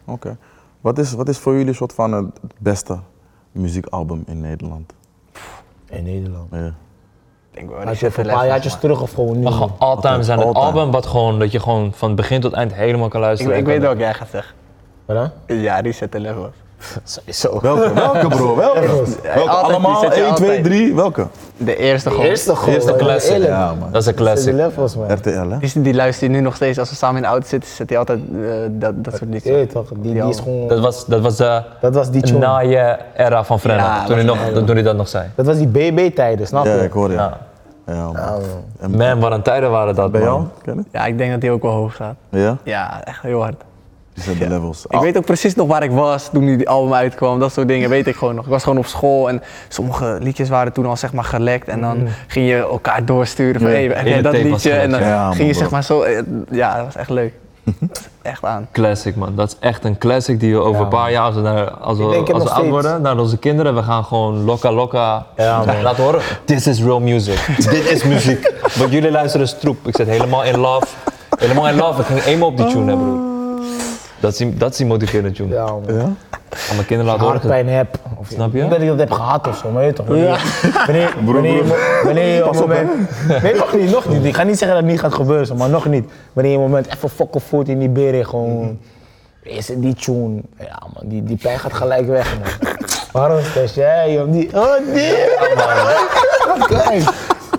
Oké. Wat, is, wat is voor jullie soort van het beste muziekalbum in Nederland? In Nederland. Ja. Ik denk wel, Had je Richard het een paar Lefferts, jaartjes man. terug of gewoon nu? Maar gewoon all-time zijn het All-time. album wat gewoon, dat je gewoon van begin tot eind helemaal kan Ik, luisteren. ik en weet kan- welke jij gaat zeggen. Wat dan? Ja, Reset Eleven. Sowieso. Welke? Welke bro? Welke? Welke? altijd, die Allemaal? zet je 1, 2, altijd. 3. Welke? De eerste gewoon. Eerste gewoon. Eerste classic. Eerlijk. Ja, man. Dat is een De classic. levels, man. RTL, hè? Die, die luistert nu nog steeds, als we samen in de auto zitten, zet hij altijd eh, dat, dat soort Je liedjes. weet toch, die, die is Dat gewoon... was, dat was eh, de Dat was die tune. na-era van Frenna, Ja, toen, hij dat nog, toen hij dat nog zei. Dat was die BB-tijden, snap je? Ja, ik hoor je. Ja. Ja, man. En Man, wat een tijden waren dat, bij jou, man. Kenneth? Ja, ik denk dat die ook wel hoog staat. Ja? Ja, echt heel hard. Je zet de levels. Ah, Ik weet ook precies nog waar ik was toen die album uitkwam. Dat soort dingen weet ik gewoon nog. Ik was gewoon op school en sommige liedjes waren toen al zeg maar gelekt. En dan ging je elkaar doorsturen van Ja, hey, heb hele jij dat tape was liedje? gelekt, En dan ja. Ja, man, ging je bro. zeg maar zo... eh, Ja, dat was echt leuk. echt aan. Classic man, dat is echt een classic die we over Ja, een paar jaar, als we, naar, als we, Ik denk het als we nog oud steeds. worden, naar onze kinderen, we gaan gewoon loka loka Ja, man. laten horen. This is real [LAUGHS] music, dit is muziek. Wat jullie luisteren is troep. Ik zit helemaal in love, helemaal in love. Ik ging eenmaal op die tune hebben broer. Dat is die, dat is die motiverende tune. Ja, man. Ja? Aan mijn kinderen laten horen. Hartpijn heb. Of, Snap je? Niet dat ik dat heb gehad of zo, maar weet je toch? Wanneer, wanneer, [LAUGHS] Broer, wanneer, broer. wanneer je op Pas een op, hè. moment. [LAUGHS] Nee, nog niet, nog niet. Ik ga niet zeggen dat het niet gaat gebeuren, maar nog niet. Wanneer je een moment even fokken voelt in die beren, Mhm. gewoon. Is het die tune? Ja, man, die, die pijn gaat gelijk weg, man. Waarom stes jij om die. Oh, die! Wat klein.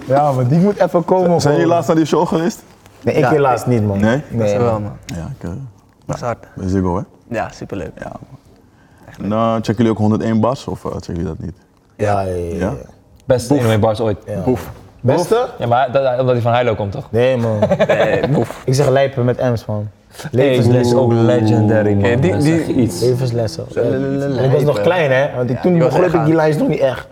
Ja, man, die moet even komen. Zijn jullie gewoon. laatst naar die show geweest? Nee, ik Ja, helaas niet, man. Nee? Dat is man. wel man. Ja, ik. eh, Dat is hard. bij Ziggo, hè? Ja, superleuk. Ja, man. En, eh, checken jullie ook 101 bars of eh, checken jullie dat niet? Ja, ja, ja, ja. Ja? Beste anime bars ooit. Boef. Beste? Ja, maar dat, omdat hij van Heilo komt toch? Nee, man. Ik zeg lijpen met M's, man. Levensles is ook legendary man. Ja, die- Dat is die- echt iets. Levenslessen. Eh, Lijpen. Ik was nog klein, hè? Want ik, toen die was begreep echt ik die aan. lijst nog niet echt.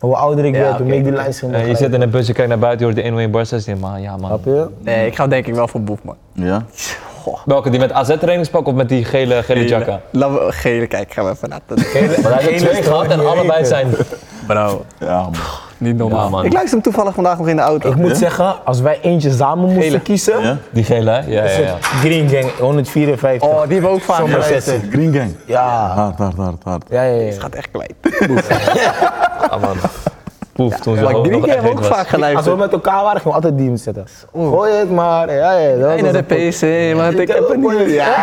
Maar hoe ouder ik Ja, werd, toen oké. ben ik die lijst ging Eh, je begrijpen. zit in een busje, kijkt naar buiten, je hoort de 101 bars 16 man. Ja man. Snap je? Nee, ik ga denk ik wel voor Boef man. Ja? Goh. Welke, die met AZ-trainingspak of met die gele, gele jacka? Laten we gele kijk, gaan we even naar de... Hele- Maar daar heb je hele twee stroom gehad en die allebei heten. zijn Bro, Ja, man. niet normaal. Ja, man. Ik luister hem toevallig vandaag nog in de auto. Ik moet zeggen, als wij eentje samen moesten Gele. kiezen, Ja? Die gele, hè? Ja, ja, is ja. het Green Gang 154. Oh, die hebben we ook vaak Sommige geluisterd. zetten. Green Gang. Ja. Hard, hard, hard, hard. Ja, ja, ja. Het gaat echt kwijt. Ah, man. Poef, toen ze Maar ook die nog keer echt hebben we heet was. ook vaak Als we geluisterd. met elkaar waren, gingen we altijd die zetten. Gooi het maar. Ja, ja. Dat En naar de was een- PC, want ik heb het niet. Ja.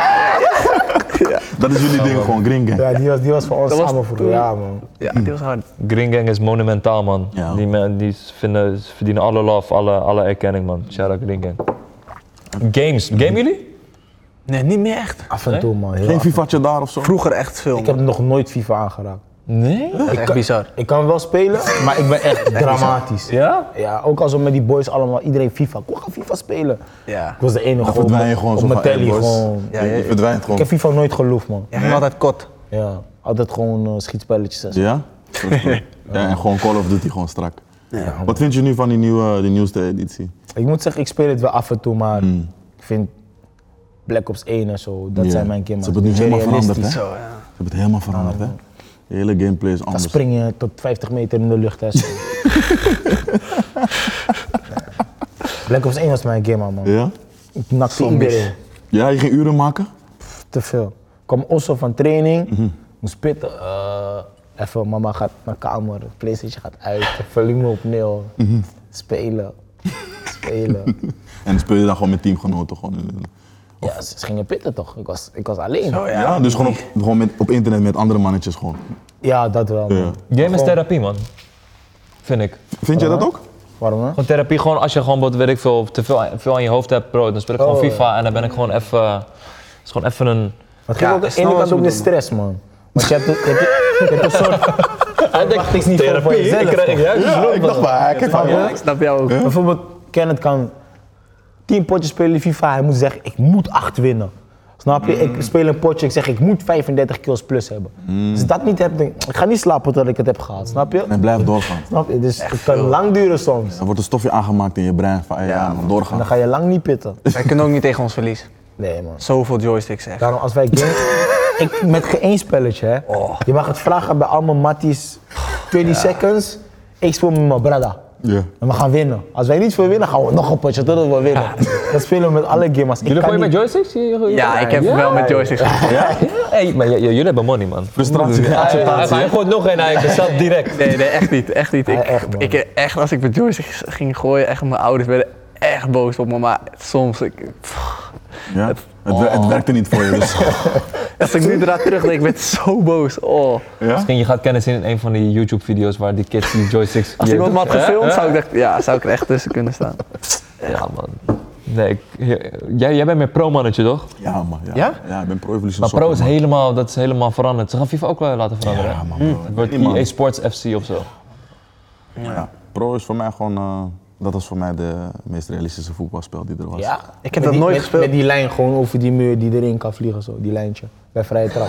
Dat is jullie ding gewoon, Green Gang. Ja, die was, die was voor ons Dat was samen vroeger. toen- Ja, man. ja, die was hard. Green Gang is monumentaal, man. Ja. Die, men- die vinden, ze verdienen alle love, alle, alle erkenning, man. Shout-out Green Gang. Games. Game jullie? Nee, niet meer echt. Af en toe, man. heel Geen af en toe. Vivatje daar of zo? Vroeger echt veel. Ik heb nog nooit FIFA aangeraakt. Nee? Dat is echt bizar. Ik kan wel spelen, maar ik ben [LAUGHS] echt dramatisch. Ja? Ja, ook als we met die boys allemaal, iedereen FIFA. Kom, we gaan FIFA spelen. Ja. Ik was de enige Dan op verdwijn je mijn- gewoon op zo mijn van, hey, telly boys. gewoon. Ja, Je- ja, Je ja. verdwijnt Ik gewoon. heb FIFA nooit geloofd, man. Ja, ging altijd kot. Ja, altijd gewoon eh, schietspelletjes. en zo. Ja? [LAUGHS] Ja, en gewoon Call of Duty gewoon strak. Wat vind je nu van die, nieuwe, die nieuwste editie? Ik moet zeggen, ik speel het wel af en toe, maar ik vind Black Ops 1 en zo, dat Hmm. Ja. zijn mijn kinderen. Ze hebben het nu helemaal veranderd, hè? Zo, ja. Ze hebben het helemaal veranderd, hè? De hele gameplay is Dan anders. spring je tot 50 meter in de lucht. Hè, [LAUGHS] zo. Black Ops 1 was mijn game, man. Ja? Ik nakte Zombies. iedereen. Ja, je ging uren maken? te veel. Ik kwam also van training, moest pitten. eh, even, mama gaat naar kamer, de PlayStation gaat uit, [LAUGHS] volume opnieuw. Spelen, [LAUGHS] spelen. En dan speel je dan gewoon met teamgenoten. Gewoon in- in- ja, ze, ze gingen pitten toch? Ik was, ik was alleen. Zo, ja. ja. dus gewoon, op, gewoon met, op internet met andere mannetjes gewoon. Ja, dat wel. man. Ja. Game is therapie, man. Vind ik. Vind jij dat ook? Waarom hè? Gewoon therapie, gewoon als je gewoon, wat weet ik veel, te veel, veel aan je hoofd hebt, bro. Dan speel ik gewoon Oh, ja. FIFA en dan ben ik gewoon even... Het is gewoon even een... Maar het ging Ja, ook aan ik de snap ene wat kant ze ook de bedoelen. stress, man. Want je hebt, je hebt, je hebt een soort [LAUGHS] verwachting niet van- van jezelf. toch? ik dacht maar, ik heb Snap je? Ik snap jou ook. Bijvoorbeeld, Kenneth kan tien potjes spelen in FIFA. Hij moet zeggen, ik moet acht winnen. Snap je? Ik speel een potje, ik zeg, ik moet 35 kills plus hebben. Als ik dat niet heb, denk ik, ik ga niet slapen tot ik het heb gehaald. Snap je? En blijf doorgaan. Snap je? Dus het kan veel. lang duren soms. Dan wordt een stofje aangemaakt in je brein van, hey, ja, man, En dan doorgaan. ga je lang niet pitten. Wij kunnen ook niet tegen ons verliezen. Nee, man. Zoveel joysticks echt. Daarom, als wij games... ik, met geen één spelletje, hè. Je mag het vragen bij allemaal matties. 20 seconds. Ik speel met mijn brada. Ja. En we gaan winnen. Als wij niet veel winnen, gaan we nog een potje totdat we winnen. Dat spelen we met alle gamers. Ik Jullie kan gooien met niet- joysticks? Je- je- Ja, ik heb Ja? wel met joysticks gespeeld. Hey, maar j- j- jullie hebben money, man. Frustratie en acceptatie. Hij gooit nog een, hij bestaat direct. Nee, nee, echt niet. Echt niet. Ik, Ja, echt, man. ik, echt als ik met joysticks ging gooien, echt mijn ouders werden echt boos op me. Maar soms, ik, pff, Ja? Het, wer- het werkte niet voor je, dus... als ik nu eraan terugdenk, ik werd zo boos. Oh. Ja? Misschien je gaat kennis zien in een van die YouTube-video's waar die kids die joysticks. Als iemand me had Hè? gefilmd, zou ik, echt- ja, zou ik er echt tussen kunnen staan. Ja, man. Nee, ik, jij, jij bent meer pro-mannetje, toch? Ja, man. Ja, Ja? ja? ik ben pro-evolution Maar pro is Soccer, helemaal, dat is helemaal veranderd. Ze gaan FIFA ook wel laten veranderen. man. Ja, hè? man, bro. Het wordt Nee, man. EA Sports FC of zo. Ja. Pro is voor mij gewoon eh, dat was voor mij de meest realistische voetbalspel die er was. Ja. Ik heb Met dat die- nooit met- gespeeld. Met die lijn gewoon over die muur die erin kan vliegen, zo, die lijntje. Bij vrije trap.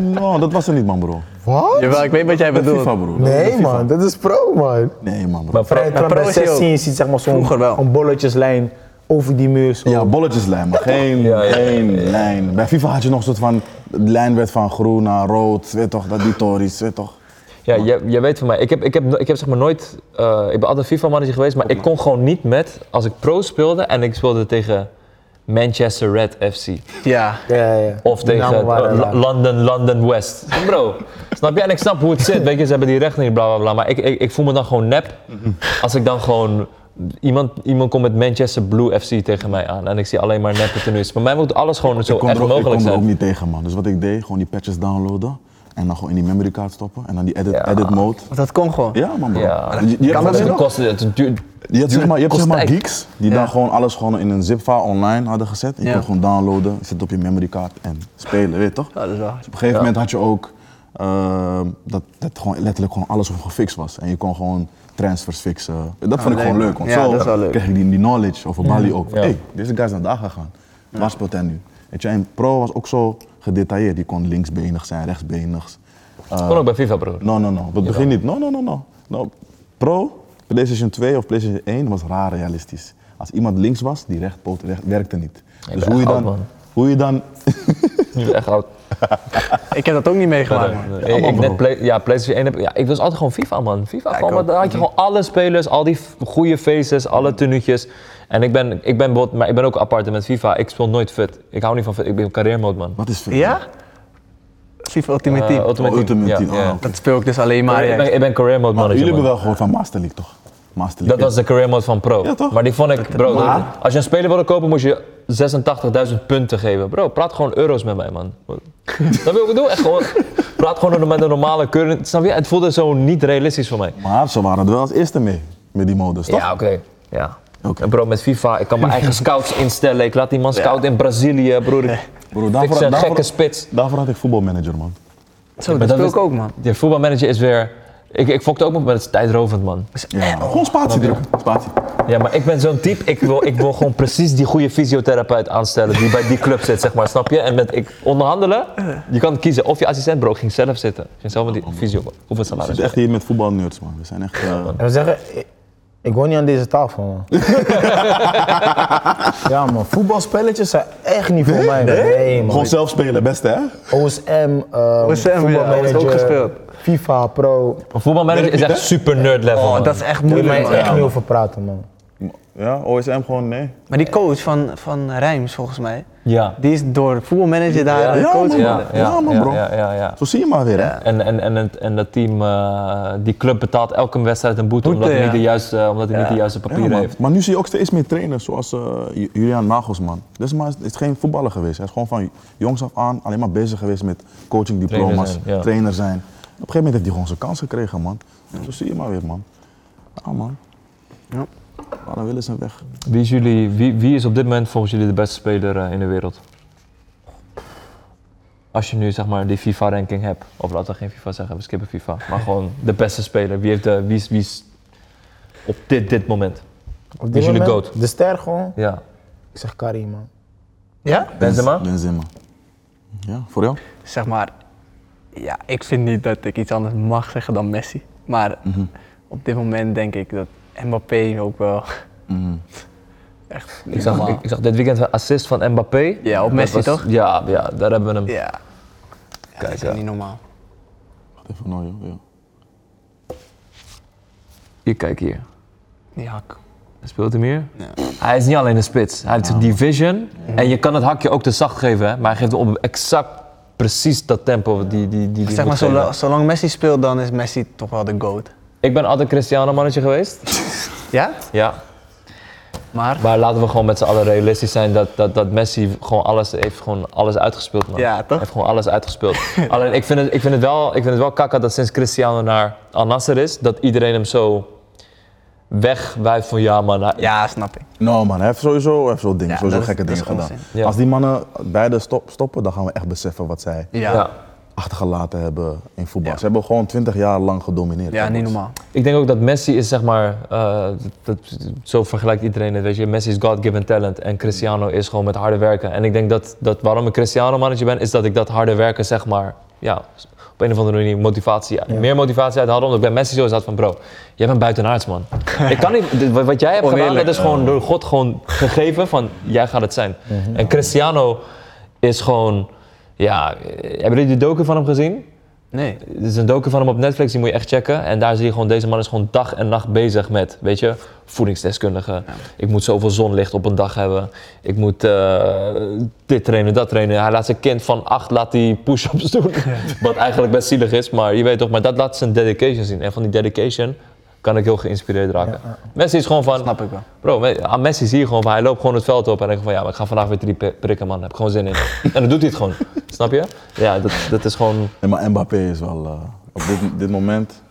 No, Oh, dat was er niet, man, bro. Wat? Jawel, ik weet wat jij Dat is bedoelt. FIFA, bro. Dat is de [LAUGHS] Nee, FIFA. man, dat is pro, man. Nee, man, bro. Maar vrije maar trap pro bij is hij ook. 16 je ziet zeg maar zo'n Vroeger wel. een bolletjeslijn over die muur. Zo. Ja, bolletjeslijn, maar [LAUGHS] geen, geen lijn. Bij FIFA had je nog een soort van, de lijn werd van groen naar rood, weet toch, dat die tories, weet toch. Ja, jij, jij weet van mij. Ik heb, ik heb, no- ik heb zeg maar nooit. eh, ik ben altijd FIFA-manager geweest, maar ik kon gewoon niet met. Als ik pro speelde en ik speelde tegen Manchester Red FC. Ja. Ja, ja. Of Die namen tegen waren eh, raar. L- London, London West. Bro, snap je? En ik snap hoe het zit. Weet je, ze hebben die recht niet, bla bla bla. Maar ik, ik, ik voel me dan gewoon nep. Als ik dan gewoon. Iemand, iemand komt met Manchester Blue FC tegen mij aan en ik zie alleen maar neppe tenues. Bij mij moet alles gewoon zo Ik kon, echt er, ook- ik mogelijk kon er ook zijn. niet tegen, man. Dus wat ik deed, gewoon die patches downloaden en dan gewoon in die memorykaart stoppen en dan die edit, edit mode. Want dat kon gewoon. Ja, man, bro. Ja. Je, je hebt Kan van dat die- het kosten? Het duurt. je hebt zeg maar, je hebt kost zeg maar tijd. geeks die dan gewoon alles gewoon in een zip-file online hadden gezet. Je Ja. kon gewoon downloaden, zit op je memorykaart en spelen, weet toch? Ja, dat is wel hard. Op een gegeven moment had je ook ehm, dat, dat gewoon letterlijk gewoon alles gewoon gefixt was. En je kon gewoon transfers fixen. Dat vond ik leuk. gewoon leuk. Want Ja, zo dat is wel leuk. kreeg ik die, die knowledge over Bali ook. Van, Ja. hey, deze guy is naar daar gegaan. Waar speelt hij nu? Weet je, en Pro was ook zo gedetailleerd. Die kon linksbenig zijn, rechtsbenig. Kon ook bij FIFA, broer. No, no, no. Op het begin niet. No, no, no, no. no. Pro, PlayStation 2 of PlayStation 1 was raar realistisch. Als iemand links was, die rechtpoot recht, werkte niet. dus hoe ben je, echt dan, oud, man. hoe je dan Nu Ah. is het echt oud. Ik heb dat ook niet meegemaakt. man. Nee, ik- ik net play, ja, PlayStation 1 heb, ja, ik was altijd gewoon FIFA man. FIFA gewoon, ook. maar daar had je gewoon alle spelers, al die f- goede faces, alle tenuutjes. En ik ben, ik ben bijvoorbeeld, maar ik ben ook apart met FIFA. Ik speel nooit fit. Ik hou niet van fit. Ik ben career mode man. Wat is fit? Ja? FIFA Ultimate Eh, Team. Ultimate Oh, Ultimate Ja, Team. ja. Ah, oké. Dat speel ik dus alleen maar. Ik juist. ben, ik ben career Maar mode manager. jullie hebben man. wel gehoord van Master League, toch? Master Dat League. was de career mode van pro. Ja, toch? Maar die vond ik, bro, Maar- dat- als je een speler wilde kopen moest je 86.000 punten geven. Bro, praat gewoon euro's met mij man. [LAUGHS] Dat wil ik bedoel, echt gewoon. Praat gewoon met een normale current. Snap je? Het voelde zo niet realistisch voor mij. Maar ze waren er wel als eerste mee, met die modus, toch? Ja, oké. Ja. Oké. En bro, met FIFA, ik kan mijn eigen scouts instellen. Ik laat die man scouten in Brazilië, broer. Ik Bro, fix daarvoor, een daarvoor, gekke spits. daarvoor had ik voetbalmanager, man. Zo, Maar dat dat speel is- ik ook, man. De voetbalmanager is weer... Ik, ik fokte ook nog, maar het is tijdrovend, man. Ja. Gewoon spatie drukken. Spatie. Oh, Ja, maar ik ben zo'n type, ik wil, ik wil gewoon precies die goede fysiotherapeut aanstellen die bij die club zit, zeg maar, snap je? En met ik onderhandelen, je kan kiezen. Of je assistent, bro, ik ging zelf zitten. Ik ging zelf met die fysio, of een We salaris. zitten echt hier met voetbalnerds, man. We zijn echt... eh, En we zeggen, ik, ik woon niet aan deze tafel, man. ja, man. Voetbalspelletjes zijn echt niet voor mij, man. Nee, man. gewoon zelf spelen, beste, hè? OSM, eh OSM, ja, voetbalmanager, dat is ook gespeeld. FIFA, pro. Een voetbalmanager is echt super nerd level, Oh, man. dat is echt Moet je moeilijk, mij man. echt niet over praten, man. Ja, OSM gewoon, nee. Maar die coach van, van Rijms, volgens mij, Ja. die is door voetbalmanager daar eh, Ja, coach man. geworden. Ja, man, bro. Ja, ja, ja. Zo zie je maar weer, hè? En, en, en, het- en dat team, eh, die club betaalt elke wedstrijd een boete, Boete, omdat hij, niet, ja. de juiste, omdat hij niet de juiste Ja, papieren man. heeft. Maar nu zie je ook steeds meer trainers, zoals eh, Ju- Julian Nagelsman. Dus maar is, is geen voetballer geweest. Hij is gewoon van jongs af aan alleen maar bezig geweest met coachingdiploma's, Trainer trainer zijn, zijn. ja. Op een gegeven moment heeft hij gewoon zijn kans gekregen, man. Zo zie je maar weer, man. Ja, man. Ja. Alle willen zijn weg. Wie is, jullie, wie, wie is op dit moment volgens jullie de beste speler eh, in de wereld? Als je nu zeg maar die FIFA-ranking hebt, of laten we geen FIFA zeggen, we skippen FIFA. [LAUGHS] Maar gewoon de beste speler. Wie, heeft de, wie, is, wie is op dit, dit moment? Op Wie is jullie moment, goat? De ster gewoon. Ja. Ik zeg Karim, man. Ja? Benzema? Benzema. Ja, voor jou? Zeg maar, ja, ik vind niet dat ik iets anders mag zeggen dan Messi. Maar op dit moment denk ik dat Mbappé ook wel echt... Ik zag, ik, ik zag dit weekend een assist van Mbappé. Ja, op Dat Messi toch? Ja, ja, daar hebben we hem. Ja. ja dat is ja. niet normaal. Wacht even, nou, joh. Ja. Hier, kijk hier. Die hak. Speelt hij meer? Oh. Mhm. Hij is niet alleen een spits. Hij heeft die vision. En je kan het hakje ook te zacht geven, hè? maar hij geeft op exact precies dat tempo die die, die, die Zeg moet maar, geven. zolang, zolang Messi speelt, dan is Messi toch wel de GOAT. Ik ben altijd Cristiano mannetje geweest. Ja? ja. Maar? Maar laten we gewoon met z'n allen realistisch zijn dat, dat, dat Messi gewoon alles heeft gewoon alles uitgespeeld. Man. Ja, toch? Heeft gewoon alles uitgespeeld. [LAUGHS] alleen ik vind, het, ik, vind het wel, ik vind het wel kakka dat sinds Cristiano naar Al Nasser is, dat iedereen hem zo wegwijft van ja man. hij- Ja, snap ik. Nou man, hij heeft sowieso, hij heeft zo dingen, Ja, sowieso dat is- gekke dat is dingen gedaan. onzin. Ja. Als die mannen beide stop- stoppen, dan gaan we echt beseffen wat zij Ja. Ja. achtergelaten hebben in voetbal. Ja. Ze hebben gewoon 20 jaar lang gedomineerd. Ja, Dat niet was- normaal. Ik denk ook dat Messi is zeg maar, eh, dat, zo vergelijkt iedereen het, weet je. Messi is God-given talent en Cristiano is gewoon met harde werken. En ik denk dat, dat waarom ik Cristiano-mannetje ben, is dat ik dat harde werken zeg maar, ja, op een of andere manier motivatie, meer motivatie uit had. Omdat ik bij Messi zo zat van, bro, jij bent buitenaards man. ik kan niet, dit- wat- wat jij hebt gedaan, Oneerlijk. dat is gewoon door God gewoon gegeven van, jij gaat het zijn. En Cristiano is gewoon, ja, eh, hebben jullie de docu van hem gezien? Nee. Er is een docu van hem op Netflix, die moet je echt checken. En daar zie je gewoon, deze man is gewoon dag en nacht bezig met, weet je, voedingsdeskundige. Ik moet zoveel zonlicht op een dag hebben. Ik moet eh, dit trainen, dat trainen. Hij laat zijn kind van acht laat die push-ups [LAUGHS] doen. Wat eigenlijk best zielig is, maar je weet toch, maar dat laat zijn dedication zien. En van die dedication kan ik heel geïnspireerd raken. Messi is gewoon van, Snap ik wel. Bro, me- aan Messi zie je gewoon van hij loopt gewoon het veld op en denkt van ja, maar ik ga vandaag weer drie pri- prikken, man. Daar heb ik gewoon zin in. en dan doet hij het [LAUGHS] gewoon. Snap je? Ja, dat, dat is gewoon. Nee, maar Mbappé is wel eh, op dit, dit moment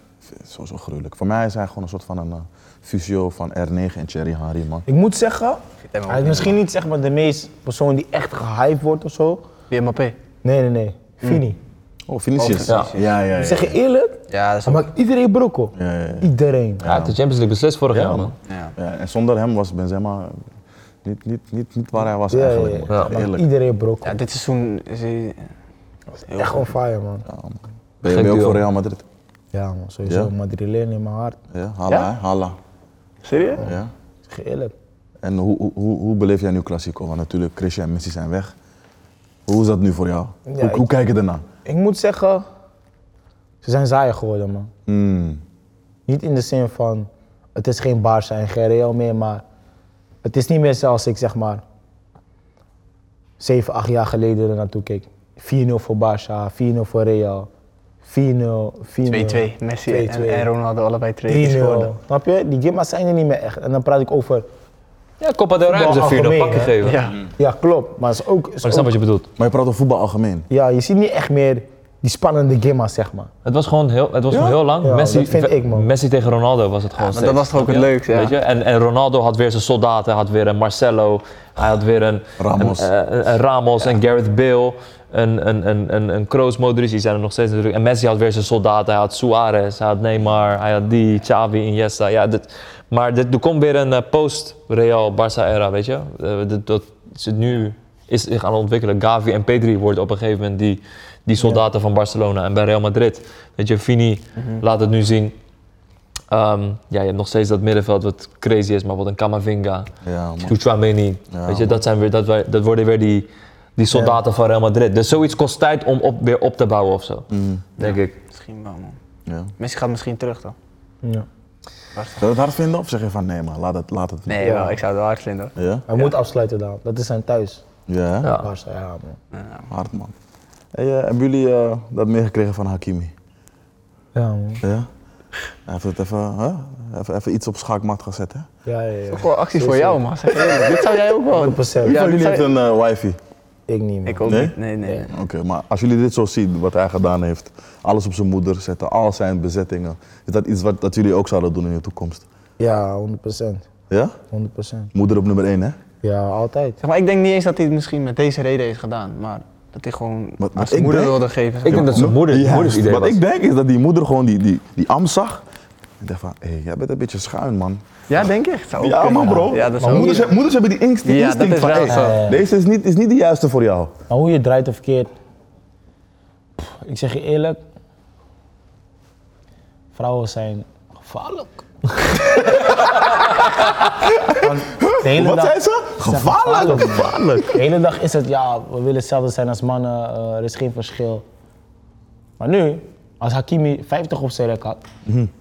sowieso gruwelijk. Voor mij is hij gewoon een soort van een eh, fusio van R9 en Thierry Henry, man. Ik moet zeggen, hem ook hij is niet misschien niet zeg maar, de meest persoon die echt gehyped wordt of zo. Wie Mbappé? Nee, nee, nee. Fini. Oh, Vinicius. Oh, Ja, Vinicius. ja, ja. ja. Ik zeg je eerlijk, Ja, dat is hij maakt iedereen brokkel. Ja, ja, ja. Iedereen. Ja, de Champions League beslist vorig jaar, man. Ja. Ja, en zonder hem was Benzema niet, niet, niet, niet waar hij was Ja, ja, eigenlijk. ja. man. Hij maakt Eerlijk. iedereen brokkel. ja, dit seizoen is hij... echt on fire, man. Ben je Gek ben je ook duo. voor Real Madrid? Ja, man. Sowieso. Ja? Madrileen in mijn hart. Ik Ja, Hala, hè? Hala. Serieus? Ja. zeg je eerlijk. En hoe, hoe, hoe, hoe beleef jij nu Classico? Want natuurlijk, Christian en Messi zijn weg. Hoe is dat nu voor jou? hoe, ik- hoe kijk je ernaar? Ik moet zeggen, ze zijn saaier geworden, man. Hmm. Niet in de zin van, het is geen Barça en geen Real meer, maar het is niet meer zoals ik zeg maar 7, 8 jaar geleden er naartoe keek. 4-0 voor Barça, 4-0 voor Real, 4-0, eh, 4-0. 2-2. Messi en- en Ronaldo allebei twee keer 3-0. scoorden. Snap je? Die gimmers zijn er niet meer echt. En dan praat ik over, Ja, Copa del Rey Voetbal hebben ze 4-0 algemeen, pakken hè? gegeven. Ja. Mm, ja klopt, maar het is ook, is Maar ik snap ook- wat je bedoelt. Maar je praat over voetbal algemeen. ja, je ziet niet echt meer die spannende gimmers zeg maar. Het was gewoon heel, het was gewoon heel lang. Ja, Messi, dat vind ik, man. Messi tegen Ronaldo was het gewoon maar dat steeds. was toch ook het Ja, leukste, ja. Weet je? En, en Ronaldo had weer zijn soldaten, had weer een Marcelo, hij had weer een Ramos. een, eh, een- een Ramos en Gareth Bale, een, een, een, een, een Kroos, Modric, die zijn er nog steeds natuurlijk. En Messi had weer zijn soldaten, hij had Suarez, hij had Neymar, hij had die, Xavi, Iniesta. Ja, dit, maar dit, er komt weer een eh, post-Real Barça-era, weet je. Eh, dit- dat zit nu is zich aan het ontwikkelen. Gavi en Pedri worden op een gegeven moment die, die soldaten van Barcelona en bij Real Madrid. Weet je, Vini laat het nu zien. Ehm, ja, je hebt nog steeds dat middenveld wat crazy is, maar wat een Camavinga, Ja, man. Chouameni. weet je, dat, zijn weer, dat, wij- dat worden weer die, die soldaten van Real Madrid. Dus zoiets kost tijd om op, weer op te bouwen of zo, denk ik. Misschien wel, man. Ja. Messi gaat misschien terug dan. Ja. Zou je het hard vinden of zeg je van nee, maar laat het. Laat het Nee, wel, ik zou het wel hard vinden. hoor. Ja? Hij moet afsluiten dan, dat is zijn thuis. Ja, hè? Ja. Barça, ja man. hard man. Hey, eh, hebben jullie eh, dat meegekregen van Hakimi? Ja man. Ja? Hij heeft het even, hè? even, even iets op schaakmat gezet, hè? Ja, ja, ja. Gewoon acties voor jou, man. Zeg je eerlijk, dit zou jij ook wel. 100%. Ja, Van dit jullie heeft zou... een eh, wifi. Ik niet man. [LAUGHS] Ik ook Nee? niet. Nee, nee. Oké, maar als jullie dit zo zien, wat hij gedaan heeft, alles op zijn moeder zetten, al zijn bezettingen, is dat iets wat dat jullie ook zouden doen in de toekomst? Ja, 100%. Ja? 100%. Moeder op nummer 1, hè? Ja, altijd. Zeg maar, ik denk niet eens dat hij het misschien met deze reden heeft gedaan, maar dat hij gewoon Wat- aan wat zijn ik moeder denk- wilde geven. Ik denk dat zijn moeder, Ja, moeders idee Wat was. ik denk is dat die moeder gewoon die, die, die am zag en dacht van, hé, jij bent een beetje schuin, man. Ja, denk je? Het zou ook Ja, kunnen. man, bro. Ja, dat maar moeders, zou kunnen. hebben- moeders hebben die inst- die Ja, dat instinct is van, wel hey, zo. Ja. deze is niet, is niet de juiste voor jou. Maar hoe je draait of keert, pff, ik zeg je eerlijk, vrouwen zijn [LAUGHS] gevaarlijk. Want de hele Wat dag- zei ze? gevaarlijk. Gevaarlijk, gevaarlijk. De hele dag is het, ja, we willen hetzelfde zijn als mannen, eh, er is geen verschil. Maar nu, als Hakimi 50 op zijn rek had,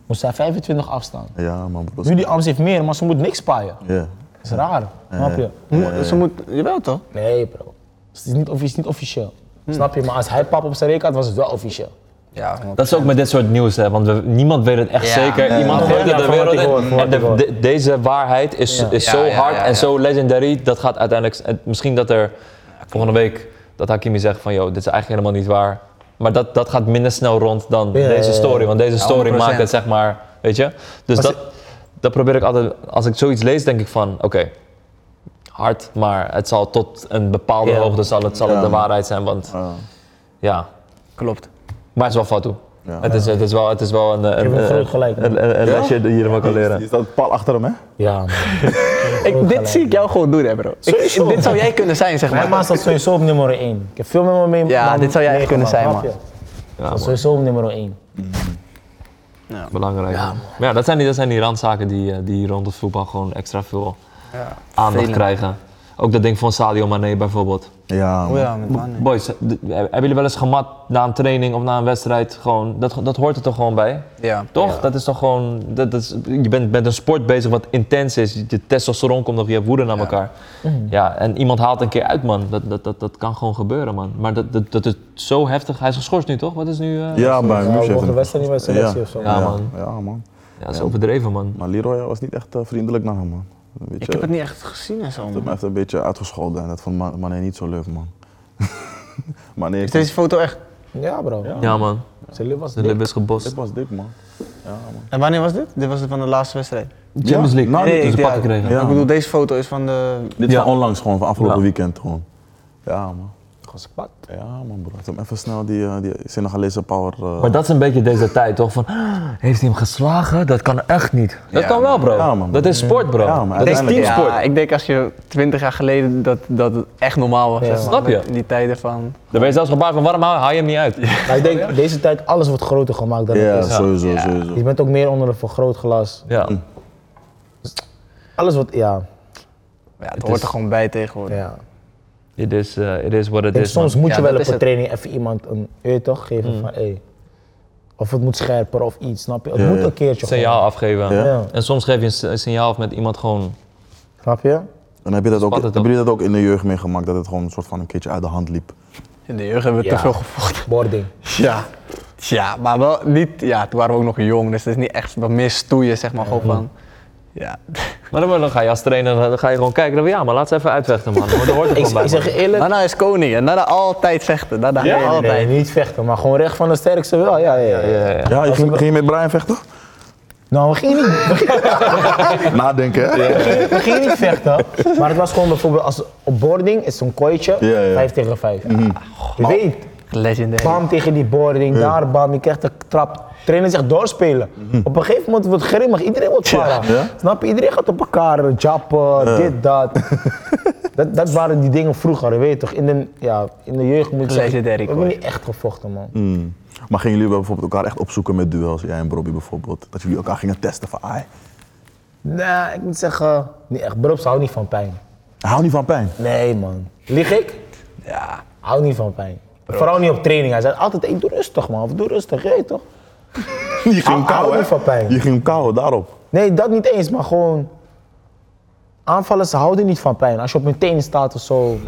moest hij 25 afstaan. Ja, man, bro. Nu die Ams heeft meer, maar ze moet niks paaien. Ja. Dat is raar, snap je? Mo- Ze moet... Jawel, toch? Nee, bro. Het is niet, offi- het is niet officieel. Snap je? Maar als hij pap op zijn rekening had, was het wel officieel. Ja, Dat is ook met dit soort nieuws, hè, want we- niemand weet het echt Ja, zeker. nee. Iemand Ja, gooit het ja, de van wereld wat ik hoor, van in. En wat ik de- hoor. de- deze waarheid is, is Ja, zo ja, hard ja, en ja. zo legendary, dat gaat uiteindelijk... en Misschien dat er volgende week, dat Hakimi zegt van, joh, dit is eigenlijk helemaal niet waar. Maar dat, dat gaat minder snel rond dan Ja, ja, deze ja. story, want deze story 100%. maakt het, zeg maar, weet je. Dus dat, dat probeer ik altijd, als ik zoiets lees, denk ik van, oké, hard, maar het zal tot een bepaalde Ja. hoogte zal het, zal het Ja. de waarheid zijn, want ja klopt. Maar het is wel Fatou. Ja. Het, is, het, is wel, het is wel een, een, hebt een een, groot gelijk, man. een- een- een lesje die je helemaal kan leren. Je staat pal achter hem, hè? Ja, man. Ik, dit zie ik jou gewoon doen, hè, bro. Ik- Sowieso. dit zou jij kunnen zijn, zeg Mijn maar. ma staat sowieso op nummer 1. Ik heb veel meer mee. Ja, man, dit zou jij echt kunnen meegemaakt, zijn, snap je? Ja, Dat is man, sowieso op nummer 1. belangrijk. man. Maar ja, dat zijn die, dat zijn die randzaken die, eh, die rond het voetbal gewoon extra veel aandacht Velen. krijgen. Ook dat ding van Sadio Mane bijvoorbeeld. Ja. Oh ja, met mannen. Boys, d- hebben jullie wel eens gemat na een training of na een wedstrijd? Gewoon, dat, dat hoort er toch gewoon bij? Ja. Toch? Dat is toch gewoon. Dat, dat is, je bent met een sport bezig wat intens is. Je testosteron komt nog, je hebt woede naar elkaar. Mhm. Ja, en iemand haalt een keer uit, man. Dat, dat, dat, dat kan gewoon gebeuren, man. Maar dat, dat, dat is zo heftig. Hij is geschorst nu, toch? Wat is nu. eh, Ja, bij Ja, we mogen de wedstrijd niet bij selectie ja. of zo. Ja, man. Ja, man. Ja, zo overdreven, man. Maar Leroy was niet echt eh, vriendelijk naar hem, man. Een beetje- Ik heb het niet echt gezien en zo. Hij man. heeft een beetje uitgescholden en dat vond Ma- Mané niet zo leuk, man. [LAUGHS] Mané Is deze foto echt? Ja, bro. Ja, man. Zijn lip was De dik. lip is Dit gebost. was dik, man. Ja, man. En wanneer was dit? Dit was van de laatste wedstrijd. Champions League. nou, Nee, dit ik- is, ze ja, pakken kregen. Ja. Ik bedoel, deze foto is van de... dit is Ja. van onlangs gewoon, van afgelopen Ja. weekend gewoon. Ja, man. Gewoon zijn pak. Ja, man, bro. Heeft hem even snel die, eh, die Senegalese power... eh, Maar dat is een beetje deze tijd, toch? Van, "Ah, heeft hij hem geslagen? Dat kan echt niet. Dat Ja, kan wel, bro. Ja, man. Dat is sport, bro. Ja, man. dat is Uiteindelijk- teamsport. Ja, ik denk als je 20 jaar geleden dat, dat het echt normaal was. Ja. zeg maar. Snap je? Met Die tijden van... Daar ben je zelfs gebaard van, waarom haal haal je hem niet uit? Maar ik denk, deze tijd, alles wordt groter gemaakt dan Ja, het is. sowieso, sowieso. Je bent ook meer onder een vergrootglas. Ja. Alles wat, ja. Ja, het, Het hoort is- er gewoon bij tegenwoordig. ja. It is, eh, it is what it Ik denk, is, soms man. moet Ja, je wel dat op is een het. Mm. training even iemand een eer toch geven van, hé. Of het moet scherper of iets, snap je? Het Ja, moet ja. een keertje signaal afgeven. Ja. Ja. En soms geef je een s- een signaal af met iemand gewoon... gewoon. Snap je? En heb je dat ook, Spat het hebben jullie dat ook in de jeugd meegemaakt, dat het gewoon een soort van een keertje uit de hand liep? In de jeugd hebben we Ja. te veel gevochten. Boarding. Ja. Ja, maar wel niet... Ja, toen waren we ook nog jong, dus het is niet echt wat meer stoeien, zeg maar. Gewoon van... Ja. Maar dan, dan ga je als trainer dan ga je gewoon kijken. Dan, ja, maar laat ze even uitvechten, man. Want Dat hoort Ik, er gewoon bij, ik zeg je man. eerlijk. Daarna is koning en daarna altijd vechten. Daarna nee, altijd. nee, niet vechten, maar gewoon recht van de sterkste wel. Ja, ja, ja. Ja, ja, ja. Ja, je ging, ging je met Brian vechten? Nou, we gingen niet [LAUGHS] Nadenken, hè? We gingen niet vechten, maar het was gewoon bijvoorbeeld als op boarding is zo'n kooitje, Ja, Mhm. ja. 5 tegen 5. Je weet, Legendary. bam tegen die boarding, daar bam, je krijgt een trap. Trainer zegt doorspelen. Op een gegeven moment wordt het grimmig, iedereen wordt para. Ja. Snap je? Iedereen gaat op elkaar jappen, dit, dat. dat. Dat waren die dingen vroeger, je weet je toch? In de, ja, in de jeugd moet je zeggen, we Legendary hebben kooi. niet echt gevochten man. Maar gingen jullie wel bijvoorbeeld elkaar echt opzoeken met duels, jij en Bobby bijvoorbeeld? Dat jullie elkaar gingen testen van, ai, Nee, ik moet zeggen, niet echt. Brops hou niet van pijn. hou niet van pijn. Nee man. Lieg ik? Ja. Hou niet van pijn. Vooral niet op training. Hij zei altijd, hey, doe rustig man, of doe rustig, je weet toch? [LAUGHS] Je ging hem Hou- hou kauwen, niet van pijn. Je ging hem kauwen, daarop. Nee, dat niet eens, maar gewoon... Aanvallers houden niet van pijn. Als je op hun tenen staat of [LAUGHS] zo.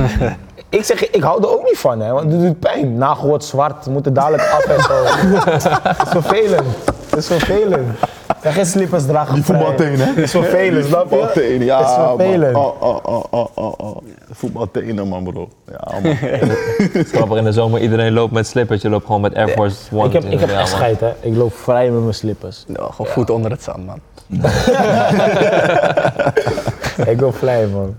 ik zeg, ik hou er ook niet van, hè, want het doet pijn. Nagel wordt zwart, we moeten dadelijk af en [LAUGHS] zo. Het is vervelend. Het is vervelend. En geen slippers dragen. Die vrij. voetbaltenen, hè? Het is vervelend, snap je? [LAUGHS] Voetbaltenen, ja. Het is man. vervelend. Oh, oh, oh, oh, oh, oh. Voetbaltenen, man, bro. Ja, [LAUGHS] man. Grappig, in de zomer iedereen loopt met slippers. Je loopt gewoon met Air Force One. Ik heb, ik heb echt man. scheid, hè. Ik loop vrij met mijn slippers. Nou, gewoon voet onder het zand, man. ik loop vrij, man.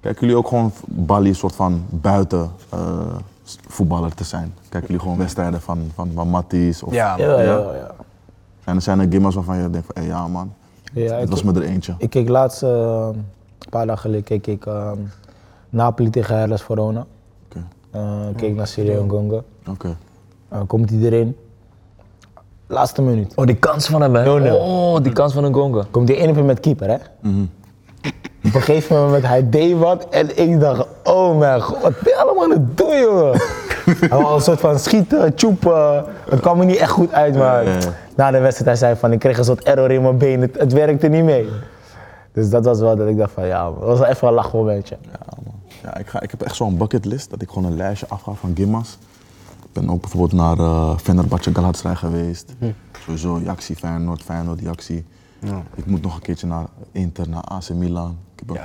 Kijken jullie ook gewoon Bali soort van buiten eh, voetballer te zijn? Kijken jullie gewoon wedstrijden van, van, van Matties? Of, Ja, man. Ja, ja, ja. En er zijn er gimmers waarvan je denkt van, hé, ja man, ja het ik- was me er eentje. Ik keek laatst, eh, een paar dagen geleden, keek ik ehm, Napoli tegen Hellas Verona. Oké. Oh, Eh, ik keek naar Sirio Ngonga. Oké. Eh komt hij erin? Laatste minuut. Oh, die kans van hem, hè? 0-0. Oh, die kans van een gonga. Komt die ene keer met keeper, hè? Op een gegeven moment, hij deed wat en ik dacht, oh mijn god, wat ben je allemaal aan het doen, jongen? hij was een soort van schieten, tjoepen. Het kwam er niet echt goed uit, maar Ja, ja. na de wedstrijd, hij zei van, ik kreeg een soort error in mijn been, het, het werkte niet mee. Dus dat was wel dat ik dacht van, ja, dat was wel even een lachmomentje. Ja, man. Ja, ik, ga, ik heb echt zo'n bucketlist dat ik gewoon een lijstje afga van gimmas. Ik ben ook bijvoorbeeld naar eh Fenerbahce Galatasaray geweest. Sowieso Jaxi, Feyenoord, Feyenoord, Jaxi. Ik moet nog een keertje naar Inter, naar AC Milan. Ik heb ook-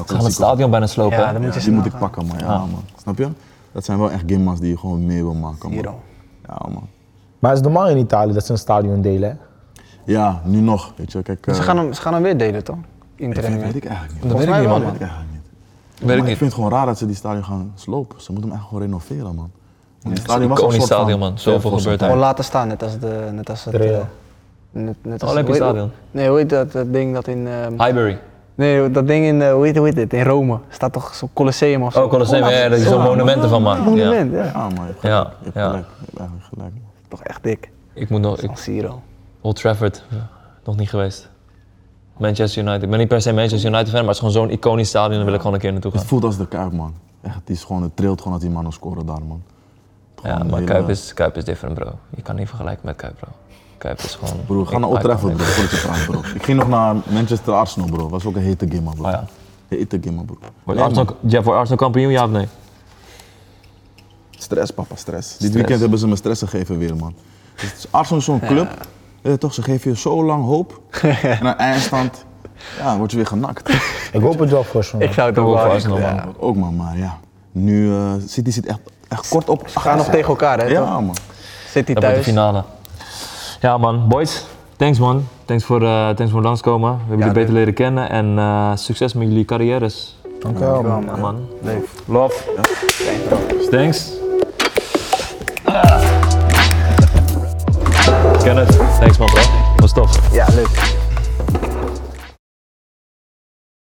ook Ze gaan het stadion bijna slopen, Ja, hè? dat moet je die snel moet ik gaan. pakken, man. Ja, man. Snap je? Dat zijn wel echt gimmas die je gewoon mee wil maken, man. Hero. Ja, man. Maar het is normaal in Italië dat ze een stadion delen, hè? Ja, nu nog. Weet je, kijk. eh, Ze gaan, hem, ze gaan hem weer delen, toch? Inter en dat weet Milan. ik eigenlijk niet. Dat weet ik mij niet, wel, man. Dat weet ik eigenlijk niet. Weet ik Maar ik niet. vind het gewoon raar dat ze die stadion gaan slopen. Ze moeten hem echt gewoon renoveren, man. Het Een stadion was een iconisch soort van- stadion, man. Zoveel Ja, gebeurt Gewoon daar. laten staan, net als, de, net als het... De Real. eh, net, net Het als, Olympisch hoe heet- stadion. Nee, hoe heet dat, dat ding dat in... ehm, Highbury. nee, dat ding in, eh, hoe, heet, hoe heet dit, in Rome. Staat toch zo'n Colosseum of zo? Oh, Colosseum, ja, dat je zo'n monumenten van maakt. Ja. Monument, ja. Ja, man, je hebt Ja, gelijk. Je hebt ja. gelijk. Je hebt eigenlijk gelijk. Toch echt dik. Ik moet nog, ik- San Siro. Old Trafford, eh, nog niet geweest. Manchester United. Ik ben niet per se Manchester United fan, maar het is gewoon zo'n iconisch stadion. Daar wil ik gewoon een keer naartoe gaan. Het voelt als de Kuip, man. Echt, het, is gewoon, het trilt gewoon als die mannen scoren daar, man. Gewoon Ja, een maar hele- Kuip is, Kuip is different, bro. Je kan niet vergelijken met Kuip, bro. Kuip is gewoon... Broer, ga naar Old Icon. Trafford, bro. Voordat je praat, bro. Ik ging nog naar Manchester Arsenal, bro. Was ook een hete game, man, bro. Oh ja. Hete game, man, bro. Wordt Nee, Arsenal, Jeff, wordt Arsenal kampioen, ja of nee? man. Stress, papa, stress. Dit weekend hebben ze me stress gegeven weer, man. Dus het is- Arsenal is zo'n club. Weet je toch, ze geven je zo lang hoop. [LAUGHS] en aan eindstand, ja, word je weer genakt. Ik hoop het wel voor ze. man. Ik zou het Toch ook wel voor wel... Arsenal, man. Ja. Dat Ook, man, maar ja. Nu eh, City zit echt, echt kort op. Ze gaan nog tegen elkaar, hè? toch? Ja, man. City Dat wordt de thuis. finale. Ja man, boys. Thanks man. Thanks voor, eh thanks voor het langskomen. We hebben jullie beter leren kennen en eh, succes met jullie carrières. Dank je wel, man. Ja, Ja, man. man. Leuk. Love. Thanks. Kenneth, thanks man bro. Was tof. Ja, leuk.